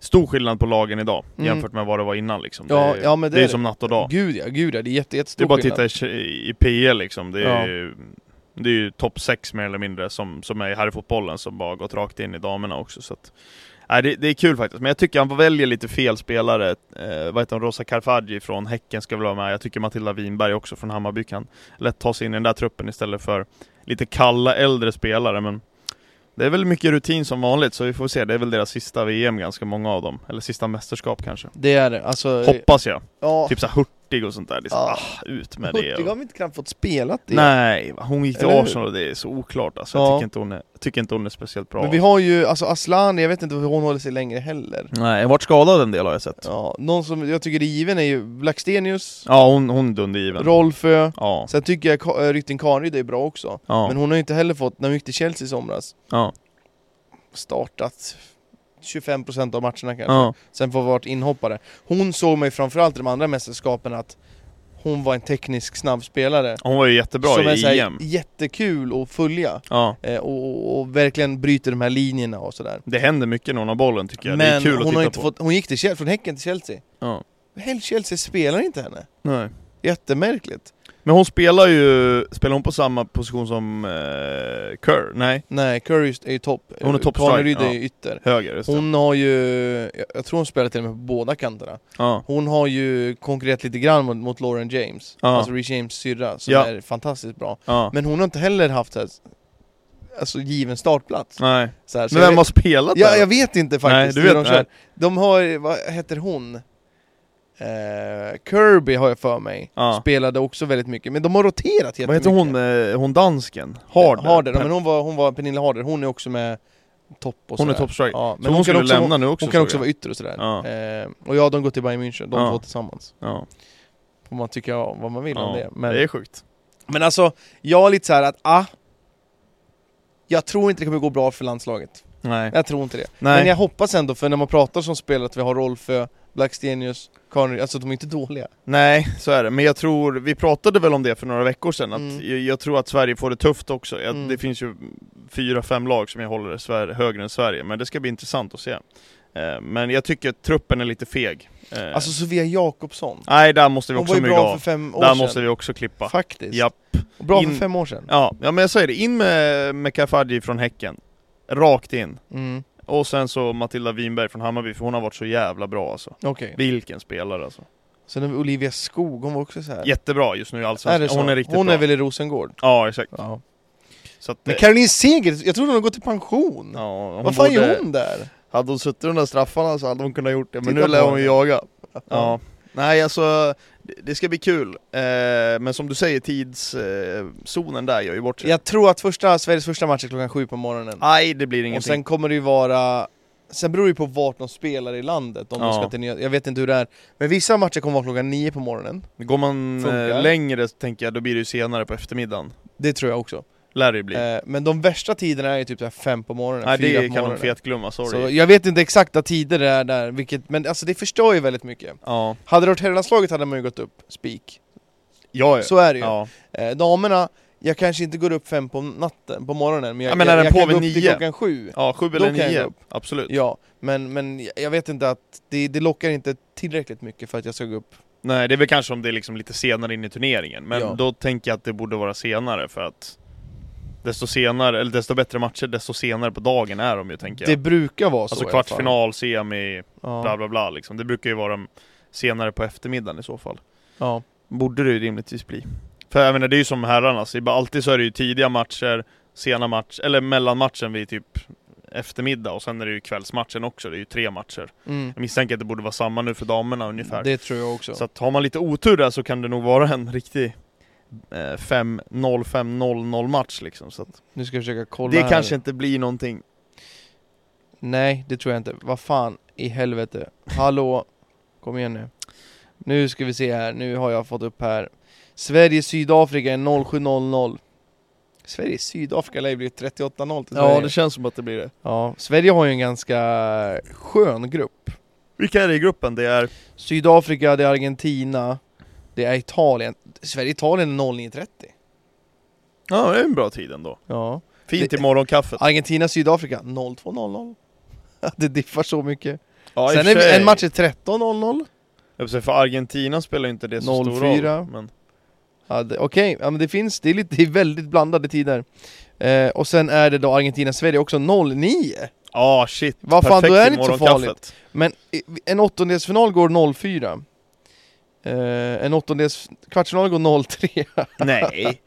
B: stor skillnad på lagen idag
A: Mm.
B: jämfört med vad det var innan liksom.
A: Ja,
B: det, är-
A: ja, men det
B: det är
A: är det.
B: som natt och dag.
A: Gud ja, gud ja, det är jätte,
B: Det är
A: jättestor
B: bara att
A: skillnad.
B: titta i, i PL liksom, det är, ju- det är ju topp 6 mer eller mindre som, som är här i fotbollen som bara gått rakt in i damerna också så att, nej, det, det är kul faktiskt, men jag tycker han väljer lite fel spelare. Eh, vad heter hon, Rosa Carfaggi från Häcken ska väl vara med, jag tycker Matilda Winberg också från Hammarby kan lätt ta sig in i den där truppen istället för lite kalla äldre spelare men det är väl mycket rutin som vanligt så vi får se, det är väl deras sista VM ganska många av dem, eller sista mästerskap kanske.
A: Det är det, alltså... eh,
B: Hoppas jag!
A: ja.
B: Typ såhär Hurtig och sånt där, liksom,
A: Ja.
B: ah, ut med det!
A: Hurtig
B: och-
A: har vi inte knappt fått spelat det.
B: Nej, va, hon gick till
A: Eller hur?
B: Arsenal och det är så oklart alltså.
A: Ja.
B: Jag tycker inte, hon är, tycker inte hon är speciellt bra.
A: Men vi har ju, alltså Aslan, jag vet inte hur hon håller sig längre heller.
B: Nej, jag har varit skadad en del har jag sett.
A: Ja, någon som jag tycker är given är ju Blackstenius,
B: Ja, hon, hon är dundergiven.
A: Rolfö,
B: Ja,
A: sen tycker jag Ka- eh, Rytting Kaneryd är bra också.
B: ja,
A: Men hon har ju inte heller fått, när hon gick till Chelsea i somras,
B: ja,
A: startat 25% av matcherna kanske.
B: ja,
A: Sen får vi varit inhoppare. Hon såg mig framförallt i de andra mästerskapen att hon var en teknisk snabb spelare.
B: Hon var ju jättebra
A: som är
B: i
A: så här
B: EM.
A: jättekul att följa.
B: Ja.
A: Eh, och, och, och verkligen bryter de här linjerna och sådär.
B: Det händer mycket när hon har bollen tycker jag. det är
A: Men
B: kul att
A: hon,
B: titta
A: har inte
B: på.
A: fått, hon gick till Chelsea, från Häcken till Chelsea.
B: Ja.
A: Hell Chelsea spelar inte henne.
B: Nej.
A: Jättemärkligt.
B: Men hon spelar ju, spelar hon på samma position som eh, Kerr? Nej,
A: Nej, Curry är ju topp.
B: Hon är topp
A: Kaneryd
B: striker,
A: är ju ytter.
B: höger. just det.
A: Hon har ju, jag- jag tror hon spelar till och med på båda kanterna.
B: Ja.
A: Hon har ju konkurrerat lite grann mot, mot Lauren James,
B: Ja.
A: alltså Rich James syrra, som
B: Ja.
A: är fantastiskt bra.
B: Ja.
A: Men hon har inte heller haft ett, alltså given startplats.
B: Nej.
A: Så här, så Alltså,
B: Men
A: jag
B: vem
A: vet-
B: har spelat
A: Ja,
B: där?
A: jag vet inte faktiskt
B: Nej, du
A: hur
B: vet-
A: de kör. De har, vad heter hon? Eh, Kirby har jag för mig.
B: Ja.
A: Spelade också väldigt mycket, men de har roterat
B: Vad
A: jättemycket.
B: heter hon, eh, hon dansken?
A: Harder.
B: Harder?
A: Harder. Ja, men hon var, hon var Pernilla Harder, hon är också med topp och
B: Hon är
A: sådär.
B: toppstriker.
A: Ja, men
B: Så
A: hon,
B: hon
A: kan
B: skulle
A: också,
B: lämna nu också
A: hon kan
B: såg
A: också
B: jag.
A: vara ytter och sådär.
B: Ja.
A: Eh, och ja, de går till Bayern München, de
B: Ja.
A: två tillsammans.
B: Ja.
A: Får man tycka vad man vill om
B: Ja.
A: det. Men,
B: Det är sjukt.
A: men alltså, jag är lite så här att, ah, jag tror inte det kommer gå bra för landslaget.
B: Nej.
A: Jag tror inte det.
B: Nej.
A: Men jag hoppas ändå, för när man pratar som spelare att vi har Rolfö, Blackstenius, Karin, alltså de är inte dåliga.
B: Nej, så är det. Men jag tror, vi pratade väl om det för några veckor sedan, att
A: Mm.
B: jag, jag tror att Sverige får det tufft också. Jag,
A: Mm.
B: Det finns ju fyra, fem lag som jag håller Sver- högre än Sverige, men det ska bli intressant att se. Eh, men jag tycker att truppen är lite feg. Eh,
A: Alltså Sofia Jakobsson.
B: nej, där måste vi
A: Hon var
B: också
A: ju
B: mygga
A: bra för
B: av.
A: fem år
B: Där
A: sedan.
B: måste vi också klippa.
A: Faktiskt.
B: Japp.
A: Och Bra
B: In-
A: för fem år sedan.
B: Ja, ja, men jag säger det, in med, med Kafaji från Häcken. Rakt in.
A: Mm.
B: Och sen så Matilda Winberg från Hammarby, för hon har varit så jävla bra alltså.
A: Okej.
B: Vilken spelare alltså.
A: Sen har vi Olivia Skog, hon var också så här.
B: Jättebra just nu i
A: är det
B: Allsvenskan.
A: så?
B: Hon är riktigt
A: hon
B: bra.
A: är väl i Rosengård?
B: Ja, exakt.
A: Ja.
B: Så att,
A: Men
B: eh,
A: Caroline Seger, jag tror hon har gått i pension!
B: Ja, hon
A: Vad fan
B: borde-
A: gör hon där?
B: Hade hon suttit de där straffarna så hade hon kunnat gjort det, men
A: Titta
B: nu lär
A: på
B: hon ju
A: henne.
B: jaga. Ja. Nej alltså, det- det ska bli kul. Eh, men som du säger, tidszonen där gör ju bort sig.
A: Jag tror att första, Sveriges första match är klockan sju på morgonen.
B: Nej, det blir
A: och
B: Ah, ingenting.
A: sen kommer det ju vara... Sen beror det ju på vart de spelar i landet, om de
B: Ja.
A: ska till nya, Jag vet inte hur det är. Men vissa matcher kommer vara klockan nio på morgonen.
B: Går man
A: Funkar.
B: eh, längre så tänker jag, då blir det ju senare på eftermiddagen.
A: Det tror jag också.
B: Lär det ju bli.
A: Eh, men de värsta tiderna är ju typ så här fem på morgonen,
B: Nej,
A: fyra
B: det
A: på
B: kan de
A: morgonen.
B: fetglömma, sorry.
A: Så jag vet inte exakta tider det är där, vilket, men alltså det förstör ju väldigt mycket.
B: Ja,
A: Hade det varit herrlandslaget hade man ju gått upp, spik.
B: ja, ja.
A: Så är det ju.
B: ja.
A: Eh, damerna, jag kanske inte går upp fem på natten, på morgonen, men jag,
B: Ja, men är
A: jag,
B: den
A: jag
B: på
A: kan gå
B: vid
A: upp till
B: nio?
A: klockan sju.
B: ja sju
A: Då
B: eller
A: kan jag
B: nio.
A: gå upp.
B: Absolut.
A: Ja, men, men jag- jag vet inte att det, det lockar inte tillräckligt mycket för att jag ska gå upp.
B: Nej, det är väl kanske om det är liksom lite senare in i turneringen, men
A: Ja.
B: då tänker jag att det borde vara senare för att desto senare, eller desto bättre matcher, desto senare på dagen är de ju tänker
A: Det
B: jag.
A: brukar vara så
B: Alltså
A: i alla fall.
B: kvartsfinal, semi, bla
A: Ja.
B: bla bla liksom. Det brukar ju vara senare på eftermiddagen i så fall.
A: Ja.
B: Borde det ju rimligtvis bli. För jag menar, det är ju som herrarnas, det är bara- alltid så är det ju tidiga matcher, sena match, eller mellanmatchen vid typ eftermiddag och sen är det ju kvällsmatchen också, det är ju tre matcher.
A: Mm.
B: Jag misstänker att det borde vara samma nu för damerna ungefär.
A: Det tror jag också.
B: Så att har man lite otur där så kan det nog vara en riktig eh, 5-0, 5-0-0 match liksom. Så att
A: Nu ska jag försöka kolla
B: det
A: här.
B: kanske inte blir någonting.
A: Nej, det tror jag inte. Vad fan i helvete. Hallå, kom igen nu. Nu ska vi se här, nu har jag fått upp här. Sverige-Sydafrika är 07.00. Sverige-Sydafrika lär ju bli 38-0 till Sverige.
B: känns som att det blir det.
A: ja, Sverige har ju en ganska skön grupp.
B: Vilka är det i gruppen? Det är...
A: Sydafrika, det är Argentina, det är Italien. Sverige-Italien är 09.30.
B: Ja, det är en bra tid ändå.
A: Ja.
B: Fint
A: Det-
B: i morgonkaffet.
A: Argentina-Sydafrika 02.00. Det diffar så mycket.
B: Ja, i
A: Sen
B: och för
A: är
B: sig.
A: en match är 13.00.
B: Jag vill säga, För Argentina spelar ju inte det så stor
A: 04.
B: roll. Men...
A: Ja, det- Okej, ja, men det finns, det är, lite, det är väldigt blandade tider. Eh, och sen är det då Argentina-Sverige också 09.
B: Ja, shit.
A: Vad fan,
B: Perfekt
A: då är
B: i
A: det inte så
B: morgonkaffet.
A: farligt. Men i- en åttondelsfinal går 04. Eh, en åttondels kvartsfinal går 03.
B: Nej.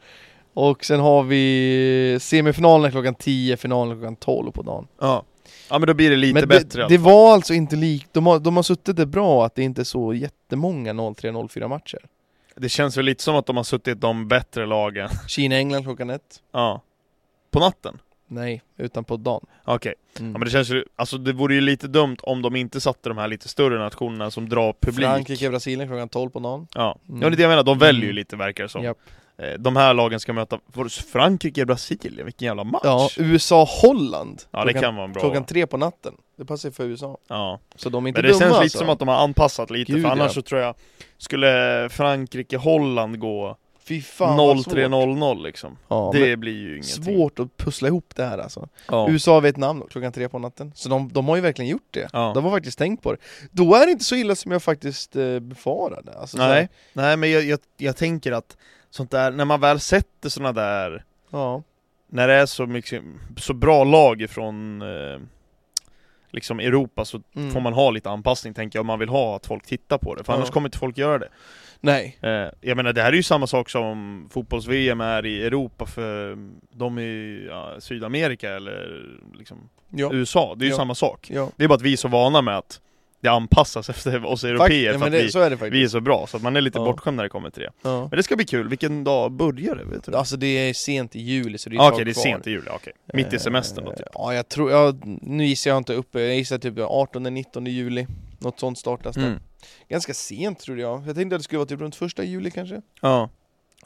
A: Och sen har vi semifinalen klockan 10, finalen klockan 12 på dagen.
B: Ja. ja, men då blir det lite
A: men
B: bättre.
A: det, det var alltså inte likt, de har, de har suttit det bra att det inte är så jättemånga 03-04 matcher.
B: det känns ju lite som att de har suttit de bättre lagen.
A: Kina-England klockan 1.
B: Ja. På natten?
A: Nej, utan på dagen.
B: Okej.
A: Mm.
B: Ja men det känns ju, alltså det vore ju lite dumt om de inte satte de här lite större nationerna som drar publik.
A: Frankrike, Brasilien klockan 12 på dagen.
B: Ja,
A: Mm.
B: ja det är det jag menar, de väljer ju
A: Mm.
B: lite verkar det som.
A: Japp.
B: Eh, De här lagen ska möta, var- Frankrike, Brasilien, vilken jävla match!
A: Ja, USA-Holland.
B: Ja, det kan vara en bra.
A: Klockan tre på natten. Det passar ju för USA.
B: Ja.
A: Så de är inte
B: Men det
A: dumma
B: känns lite
A: alltså.
B: som att de har anpassat lite,
A: Gud,
B: för annars
A: ja.
B: så tror jag Skulle Frankrike-Holland gå
A: Fy fan vad svårt.
B: 0-3-0-0 liksom,
A: Ja, men
B: det blir ju ingenting.
A: svårt att pussla ihop det här alltså.
B: Ja.
A: USA och Vietnam då, klockan tre på natten. Så de, de har ju verkligen gjort det.
B: Ja.
A: De har faktiskt tänkt på det. Då är det inte så illa som jag faktiskt eh, befarade. Alltså, så här-
B: Nej, nej men jag, jag, jag tänker att sånt där, när man väl sätter såna där
A: Ja.
B: när det är så, mycket, så bra lag ifrån eh, liksom Europa så
A: Mm.
B: får man ha lite anpassning tänker jag, om man vill ha att folk tittar på det, för
A: Ja.
B: annars kommer inte folk göra det.
A: Nej.
B: Eh, jag menar, det här är ju samma sak som fotbolls-VM är i Europa för de i ja, Sydamerika eller liksom
A: Ja.
B: USA, det är ju
A: Ja.
B: samma sak.
A: ja.
B: Det är bara att vi är så vana med att det anpassas efter oss europeer
A: Fakt-
B: för
A: men
B: att
A: det,
B: vi,
A: så är det faktiskt.
B: vi är så bra, så att man är lite
A: Ja.
B: bortskämd när det kommer till det.
A: Ja.
B: Men det ska bli kul, vilken dag börjar det? Vet du?
A: Alltså det är sent i juli så det är ett
B: Ah,
A: tag
B: Okej, det är
A: kvar.
B: sent i juli, okej. Mitt i
A: Eh,
B: semestern då typ.
A: Ja, jag tror, ja, nu gissar jag inte uppe, jag gissar typ 18-19 juli Något sånt startas det.
B: Mm.
A: Ganska sent tror jag, jag tänkte att det skulle vara typ runt första juli kanske
B: Ja.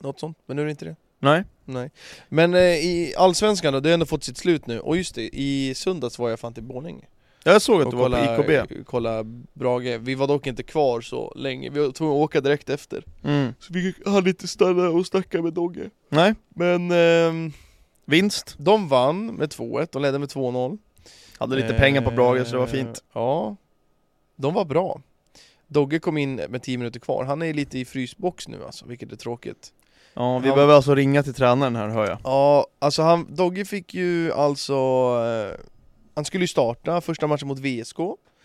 A: Något sånt, men nu är det inte det
B: Nej.
A: Nej. Men eh, i Allsvenskan då, det har ändå fått sitt slut nu. Och just det, i söndags var jag fan till Borlänge.
B: Jag såg att
A: och
B: du var på
A: kolla-
B: IKB.
A: Kolla Brage. Vi var dock inte kvar så länge, vi var tvungna att åka direkt efter.
B: Mm.
A: Så vi hann inte stanna och snacka med Dogge.
B: Nej.
A: Men ehm,
B: Vinst.
A: de vann med 2-1, de ledde med 2-0.
B: Hade lite
A: Eh,
B: pengar på Brage så det var fint.
A: Ja, de var bra. Dogge kom in med 10 minuter kvar, han är lite i frysbox nu alltså, vilket är tråkigt.
B: Ja, vi
A: han-
B: behöver alltså ringa till tränaren här hör jag.
A: Ja, alltså han, Dogge fick ju alltså, eh, han skulle ju starta första matchen mot VSK,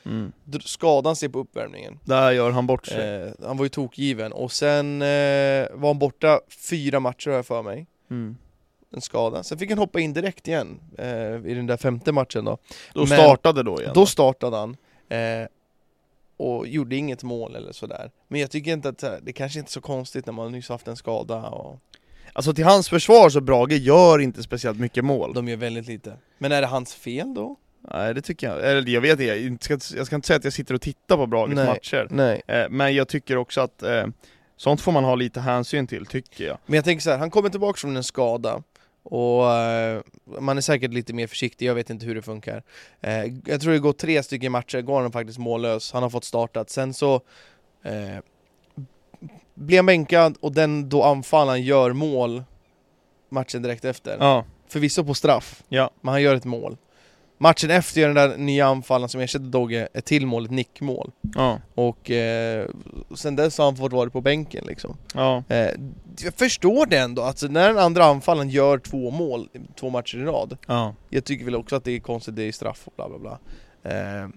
B: Mm.
A: Dr- skadade han sig på uppvärmningen.
B: Där gör han bort sig.
A: Eh, han var ju tokgiven och sen eh, var han borta fyra matcher har jag för mig.
B: Mm.
A: En skada. Sen fick han hoppa in direkt igen eh, i den där femte matchen då.
B: Då
A: men-
B: startade då igen.
A: Då startade han eh, och gjorde inget mål eller sådär. Men jag tycker inte att eh, det kanske inte är så konstigt när man nyss haft en skada och
B: Alltså till hans försvar så Brage gör inte speciellt mycket mål.
A: de gör väldigt lite. Men är det hans fel då?
B: Nej det tycker jag, eller jag vet inte, jag inte ska, jag ska inte säga att jag sitter och tittar på Brages
A: Nej.
B: matcher.
A: Nej.
B: Eh, men jag tycker också att eh, sånt får man ha lite hänsyn till, tycker jag.
A: Men jag tänker så här, han kommer tillbaka från en skada och eh, man är säkert lite mer försiktig, jag vet inte hur det funkar. Eh, jag tror det går tre stycken matcher, går han faktiskt mållös, han har fått startat. Sen så eh, blir han bänkad och den då anfallaren gör mål matchen direkt efter.
B: Ja.
A: Förvisso på straff,
B: Ja.
A: men han gör ett mål. Matchen efter gör den där nya anfallaren som ersätter Dogge ett till mål, ett nickmål.
B: Ja.
A: Och eh, sen dess har han fått vara på bänken liksom.
B: Ja.
A: Eh, jag förstår det ändå, alltså när den andra anfallen gör två mål, två matcher i rad
B: Ja.
A: Jag tycker väl också att det är konstigt, det är straff och bla bla bla eh,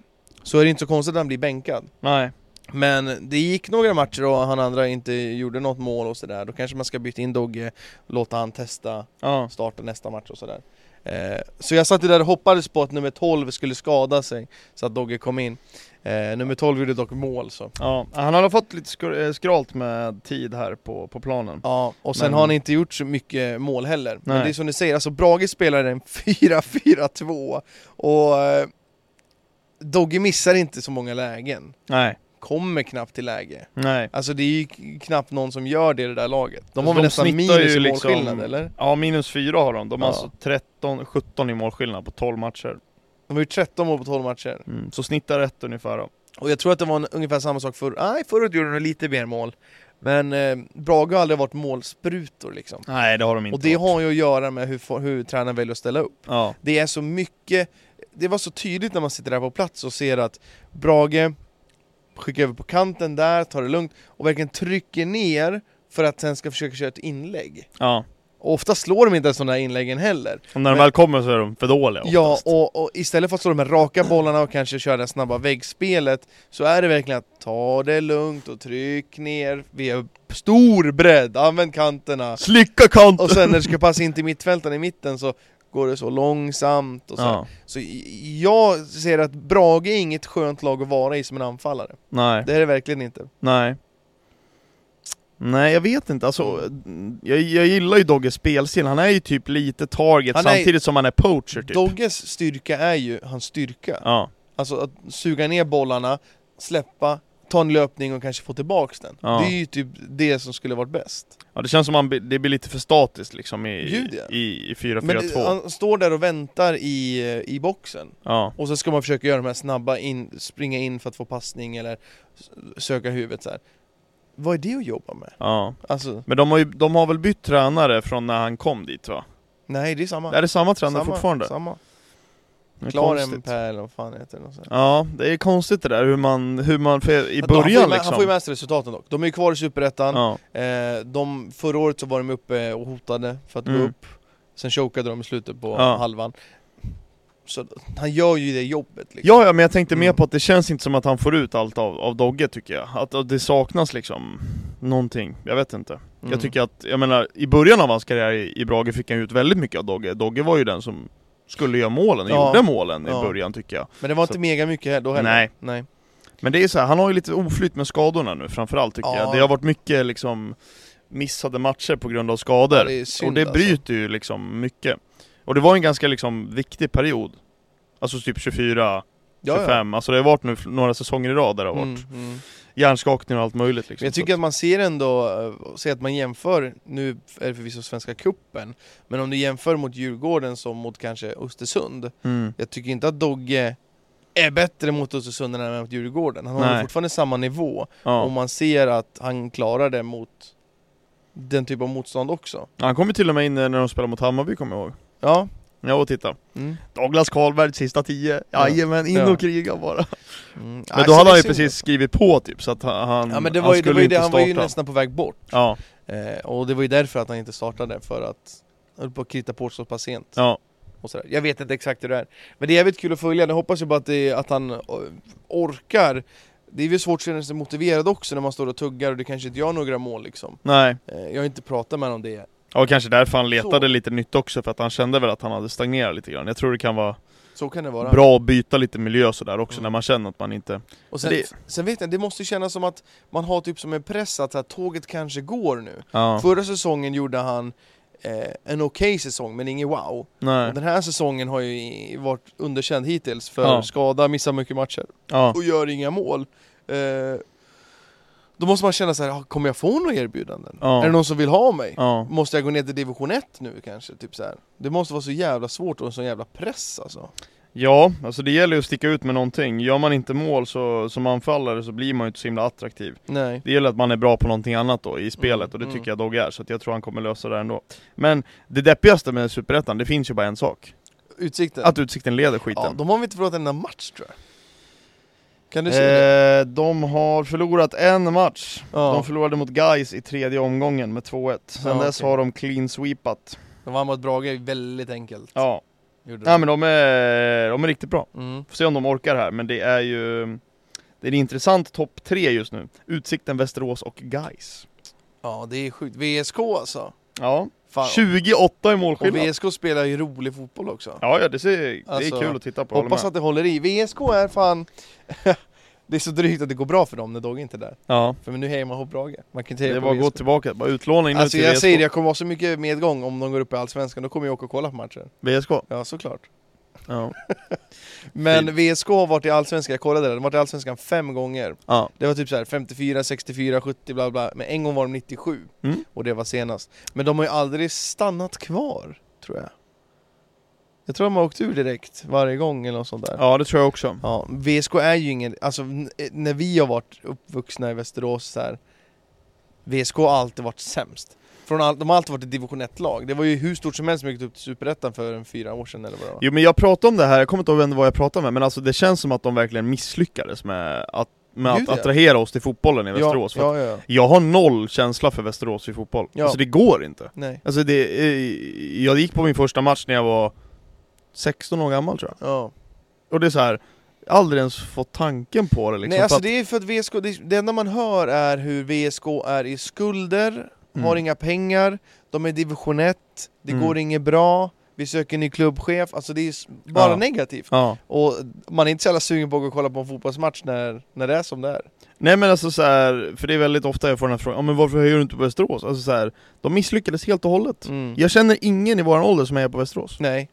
A: Så är det inte så konstigt att han blir bänkad
B: Nej.
A: Men det gick några matcher och han andra inte gjorde något mål och sådär Då kanske man ska byta in Dogge, låta han testa,
B: Ja.
A: starta nästa match och sådär eh, Så jag satt ju där och hoppades på att nummer 12 skulle skada sig Så att Dogge kom in eh, Nummer 12 gjorde dock mål så
B: ja. Han har fått lite skr- eh, skralt med tid här på, på planen.
A: Ja, och sen
B: Men-
A: har han inte gjort så mycket mål heller. Men
B: Nej.
A: det är som du säger, alltså Brage spelar en 4-4-2 och eh, Dogge missar inte så många lägen.
B: Nej.
A: Kommer knappt till läge.
B: Nej.
A: Alltså det är ju k- knappt någon som gör det i det där laget. De har
B: Alltså,
A: väl
B: de
A: nästan
B: snittar
A: minus
B: ju
A: i
B: liksom-
A: målskillnad eller?
B: Ja, minus fyra har de. De har
A: Ja.
B: alltså 13, 17 i målskillnad på 12 matcher.
A: De har ju 13 mål på 12 matcher.
B: Mm. Så snittar rätt ungefär då.
A: Och jag tror att det var en, ungefär samma sak förr. Nej, förut gjorde de lite mer mål. Men eh, Brage har aldrig varit målsprutor liksom.
B: Nej, det har de inte.
A: Och det
B: varit.
A: har ju att göra med hur, fo- hur tränaren väljer att ställa upp.
B: Ja.
A: Det är så mycket, det var så tydligt när man sitter där på plats och ser att Brage skickar över på kanten där, tar det lugnt och verkligen trycker ner för att sen ska försöka köra ett inlägg.
B: ja.
A: Och ofta slår de inte ens de där inläggen heller.
B: Och när de
A: Men-
B: väl kommer så är de för dåliga
A: Ja,
B: oftast.
A: och, och istället för att slå de här raka bollarna och kanske köra det här snabba väggspelet så är det verkligen att ta det lugnt och tryck ner, vi har stor bredd, använd kanterna.
B: Slicka kanten!
A: Och sen när det ska passa in till mittfältaren i mitten så går det så långsamt och så här.
B: ja.
A: Så i- jag ser att Brage är inget skönt lag att vara i som en anfallare.
B: Nej.
A: Det är det verkligen inte.
B: Nej. Nej, jag vet inte. Alltså, jag, jag gillar ju Dogges spelstil. Han är ju typ lite target
A: Han är-
B: samtidigt som han är poacher typ.
A: Dogges styrka är ju hans styrka.
B: Ja,
A: Alltså att suga ner bollarna, släppa, ta en löpning och kanske få tillbaks den.
B: Ja.
A: Det är ju typ det som skulle varit bäst.
B: ja det känns som att det blir lite för statiskt liksom i,
A: Gud, ja.
B: i, i
A: Men det-
B: 4-4-2.
A: han står där och väntar i, i boxen.
B: Ja,
A: Och så ska man försöka göra de här snabba in, springa in för att få passning eller s- söka huvudet så här. Vad är det att jobba med?
B: ja.
A: Alltså,
B: Men de har, ju, de har väl bytt tränare från när han kom dit va?
A: nej det är samma.
B: Är det samma tränare
A: samma,
B: fortfarande?
A: Samma.
B: Det är konstigt.
A: Klarenpää eller vad fan heter det? något sånt.
B: Ja, det är konstigt det där hur man, hur man för i
A: Att då, han får ju
B: början
A: med-
B: liksom.
A: Han får ju med sig resultaten dock. De är ju kvar i Superettan,
B: ja.
A: eh, de, förra året så var de uppe och hotade för att gå
B: Mm.
A: upp. Sen chokade de i slutet på
B: Ja.
A: halvan. Så han gör ju det jobbet liksom.
B: Ja, ja, men jag tänkte mer
A: Mm.
B: på att det känns inte som att han får ut allt av, av Dogge tycker jag. Att, att det saknas liksom någonting. Jag vet inte.
A: Mm.
B: Jag tycker att, jag menar, i början av hans karriär i, i Brage fick han ut väldigt mycket av Dogge. Dogge var ju den som skulle göra målen,
A: Ja.
B: gjorde målen
A: Ja.
B: i början tycker jag.
A: Men det var
B: så-
A: inte mega mycket här då heller.
B: Nej.
A: Nej.
B: Men det är så här, han har ju lite oflyt med skadorna nu framförallt tycker
A: Ja.
B: jag. Det har varit mycket liksom missade matcher på grund av skador.
A: Ja, det är synd,
B: och det
A: alltså.
B: bryter ju liksom mycket. Och det var en ganska liksom viktig period. Alltså typ 24, 25,
A: Ja, ja.
B: alltså det har varit nu f- några säsonger i rad där det har varit.
A: Mm, mm.
B: hjärnskakning och allt möjligt liksom.
A: Men jag tycker att man ser ändå, eh, säg att man jämför, nu är det förvisso Svenska Kuppen men om du jämför mot Djurgården som mot kanske Östersund,
B: Mm.
A: jag tycker inte att Dogge är bättre mot Östersund än mot Djurgården. Han håller
B: Nej.
A: fortfarande samma nivå,
B: Ja.
A: och man ser att han klarar det mot den typ av motstånd också.
B: Han kom ju till och med in eh, när de spelade mot Hammarby kommer jag ihåg.
A: Ja.
B: Jag var och tittade.
A: Mm.
B: Douglas Karlberg, sista tio.
A: Ja.
B: Jajamän, in
A: Ja.
B: och kriga bara.
A: Mm.
B: Men
A: Nej, så
B: då hade
A: det
B: han ju
A: är synd.
B: precis skrivit på typ, så att han, han-
A: Ja men det
B: han
A: var ju, det
B: skulle
A: var ju
B: inte
A: det, han var ju
B: starta.
A: nästan på väg bort.
B: Ja,
A: Eh, och det var ju därför att han inte startade, för att han höll på att krita på så pass sent.
B: ja.
A: Och sådär. Jag vet inte exakt hur det är. Men det är jävligt kul att följa, jag hoppas ju bara att, det, att han eh, orkar. Det är ju svårt att känna sig motiverad också när man står och tuggar och det kanske inte gör några mål liksom.
B: Nej.
A: Eh, jag har inte pratat med honom om det.
B: Ja, kanske därför han letade
A: Så.
B: lite nytt också, för att han kände väl att han hade stagnerat lite grann. Jag tror det kan vara
A: Så kan det vara.
B: bra att byta lite miljö sådär också,
A: Mm.
B: när man känner att man inte...
A: Och sen,
B: Det-
A: sen vet jag, det måste ju kännas som att man har typ som en press att så här, tåget kanske går nu.
B: Ja,
A: Förra säsongen gjorde han eh, en okej säsong men ingen wow.
B: nej.
A: Den här säsongen har ju i- varit underkänd hittills för
B: Ja.
A: skada, missar mycket matcher
B: Ja,
A: och gör inga mål. Eh, då måste man känna så här, "Ah, kommer jag få några erbjudanden?
B: Ja.
A: Är det någon som vill ha mig?
B: ja.
A: Måste jag gå ner till division 1 nu kanske? Typ så här. Det måste vara så jävla svårt och en sån jävla press alltså.
B: Ja, alltså det gäller ju att sticka ut med någonting. Gör man inte mål så, som anfallare så blir man ju inte så himla attraktiv.
A: Nej.
B: Det gäller att man är bra på någonting annat då i spelet,
A: Mm,
B: och det
A: mm.
B: tycker jag Dogge är, så att jag tror han kommer lösa det här ändå. Men det deppigaste med Superettan, det finns ju bara en sak.
A: Utsikten.
B: Att Utsikten leder skiten.
A: ja, de har väl inte förlorat en enda match tror jag. Kan du se det?
B: Eh, de har förlorat en match.
A: Ja.
B: De förlorade mot Gais i tredje omgången med 2-1. Sen
A: Ja,
B: dess
A: okej.
B: har de clean sweepat.
A: De vann mot Brage väldigt enkelt.
B: Ja,
A: Gjorde
B: Nej,
A: de.
B: men de är, de är riktigt bra.
A: Mm.
B: Får se om de orkar här, men det är ju det är en intressant topp tre just nu. Utsikten, Västerås och Gais.
A: Ja, det är sjukt. VSK alltså.
B: Ja,
A: Fan.
B: 28 i
A: Och
B: målskillnad.
A: VSK spelar ju rolig fotboll också.
B: Ja, ja, det, ser, det
A: Alltså,
B: är kul att titta på. håller
A: Hoppas
B: med.
A: att det håller i. VSK är fan... det är så drygt att det går bra för dem när Dogge inte är där.
B: Ja,
A: För men nu hejar man på Brage. Man kan inte heja
B: det
A: på
B: var att gå
A: VSK.
B: tillbaka, bara utlåna in
A: Alltså
B: nu till
A: jag
B: VSK.
A: säger det, jag kommer vara så mycket medgång om de går upp i Allsvenskan, då kommer jag åka och kolla på matchen.
B: VSK.
A: Ja, såklart.
B: Ja.
A: Men VSK har varit i Allsvenskan, jag kollade det, de har varit i Allsvenskan fem gånger.
B: ja.
A: Det var typ så här 54, 64, 70 bla bla, men en gång var de 97.
B: Mm.
A: Och det var senast. Men de har ju aldrig stannat kvar, tror jag. Jag tror de har åkt ur direkt, varje gång eller något sånt där.
B: ja, det tror jag också.
A: Ja, VSK är ju ingen, alltså n- när vi har varit uppvuxna i Västerås så här, VSK har alltid varit sämst. Från all, de har alltid varit ett division 1-lag. Det var ju hur stort som helst som gick upp till Superettan för en fyra år sedan eller vad det var.
B: Jo men jag pratade om det här, jag kommer inte ihåg vem det var jag pratade med, men alltså det känns som att de verkligen misslyckades med att, med
A: Gud,
B: att
A: ja.
B: attrahera oss till fotbollen i Västerås. för att
A: Ja, ja, ja.
B: Jag har noll känsla för Västerås i fotboll,
A: Ja.
B: alltså det går inte.
A: Nej.
B: Alltså det, eh, jag gick på min första match när jag var 16 år gammal tror jag.
A: Ja.
B: Och det är så här aldrig ens fått tanken på det liksom.
A: Nej,
B: för
A: alltså
B: att,
A: det är för att VSK, det, det enda man hör är hur VSK är i skulder,
B: Mm.
A: har inga pengar, de är division 1, det
B: Mm.
A: går inget bra, vi söker ny klubbchef, alltså det är s- bara
B: Ja.
A: negativt.
B: ja.
A: Och man är inte så jävla sugen på att gå och kolla på en fotbollsmatch när, när det är som det är.
B: Nej men alltså så här, för det är väldigt ofta jag får den här frågan, ja, men varför höjer du inte på Västerås? Alltså så här, de misslyckades helt och hållet.
A: Ja.
B: Jag känner ingen i våran ålder som är på Västerås.
A: Nej,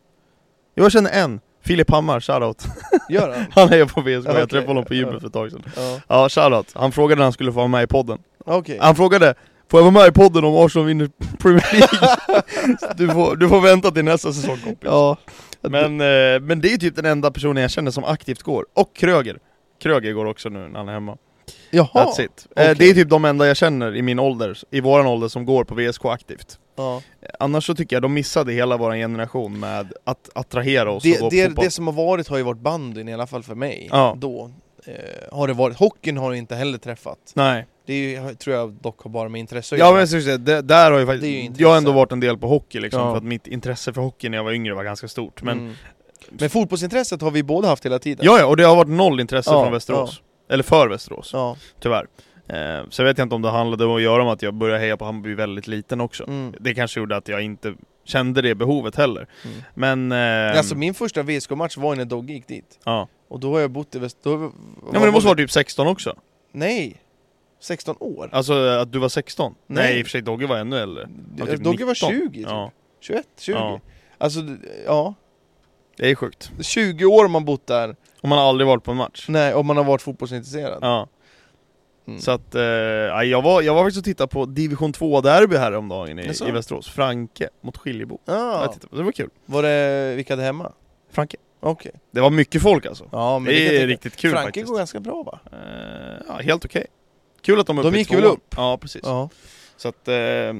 B: Jag känner en, Filip Hammar, shoutout.
A: gör han?
B: Han är på VSK,
A: Ja, okej.
B: jag träffade honom på
A: Ja.
B: gymmet för ett tag sedan.
A: ja.
B: Ja, shoutout. Han frågade när han skulle få vara med i podden.
A: Okej.
B: Han frågade Får jag vara med i podden om Arsenal vinner Premier League? du, får, du får vänta till nästa säsong kompis.
A: Ja.
B: Men, eh, men det är typ den enda personen jag känner som aktivt går. Och Kröger. Kröger går också nu när han är hemma.
A: Jaha.
B: That's it. Eh,
A: okej.
B: Det är typ de enda jag känner i min ålder, i våran ålder, som går på VSK aktivt.
A: Ja.
B: Eh, Annars så tycker jag de missade hela våran generation med att attrahera oss och
A: Det,
B: gå
A: det,
B: på fotboll.
A: det som har varit har ju varit bandyn i alla fall för mig.
B: Ja.
A: Då eh, har det varit. Hockeyn har jag inte heller träffat.
B: Nej.
A: Det är, ju- tror jag dock har bara med intresse att
B: Ja
A: göra.
B: men jag skulle säga, det, där
A: Det
B: har ju
A: är ju
B: faktiskt,
A: intresse.
B: jag har ändå varit en del på hockey liksom,
A: Ja.
B: för att mitt intresse för hockey när jag var yngre var ganska stort. Men
A: Mm. men fotbollsintresset har vi båda haft hela tiden.
B: Ja, ja, och det har varit noll intresse
A: Ja,
B: från Västerås. Eller för Västerås,
A: Ja.
B: tyvärr. Eh, så jag vet inte om det handlade om att göra med att jag började heja på Hammarby väldigt liten också.
A: Mm.
B: Det kanske gjorde att jag inte kände det behovet heller.
A: Mm.
B: Men... Eh,
A: Alltså min första VSK-match var ju när Dogge gick dit.
B: ja.
A: Och då har jag bott i Väst... Då... Ja,
B: ja, men det måste vara typ 16 också.
A: Nej! 16 år.
B: Alltså att du var 16?
A: Nej.
B: Nej, i och för sig Dogge var ännu äldre. var typ
A: Dogge var
B: 19.
A: 20 typ.
B: Ja,
A: 21, 20.
B: Ja.
A: Alltså, d- ja.
B: det är sjukt.
A: 20 år har man bott där, Mm.
B: Och man har aldrig varit på en match.
A: nej, om man har varit fotbollsintresserad.
B: Ja.
A: Mm.
B: Så att, eh, ja, jag, var, jag var faktiskt och tittade på division 2-derby häromdagen i,
A: Jaså?
B: i Västerås, Franke mot Skiljebo. Jag
A: ah,
B: tittade på det, det var kul.
A: var det, vilka hade hemma?
B: Franke.
A: Okej.
B: Det var mycket folk alltså.
A: Ja, men
B: det
A: kan jag
B: är
A: tänka.
B: riktigt kul
A: Frankrike
B: faktiskt.
A: går ganska bra va?
B: Eh, ja, helt okej. Kul att de är
A: De
B: uppe i
A: gick väl
B: tvåan.
A: upp?
B: Ja, precis.
A: Ja,
B: Så att, eh,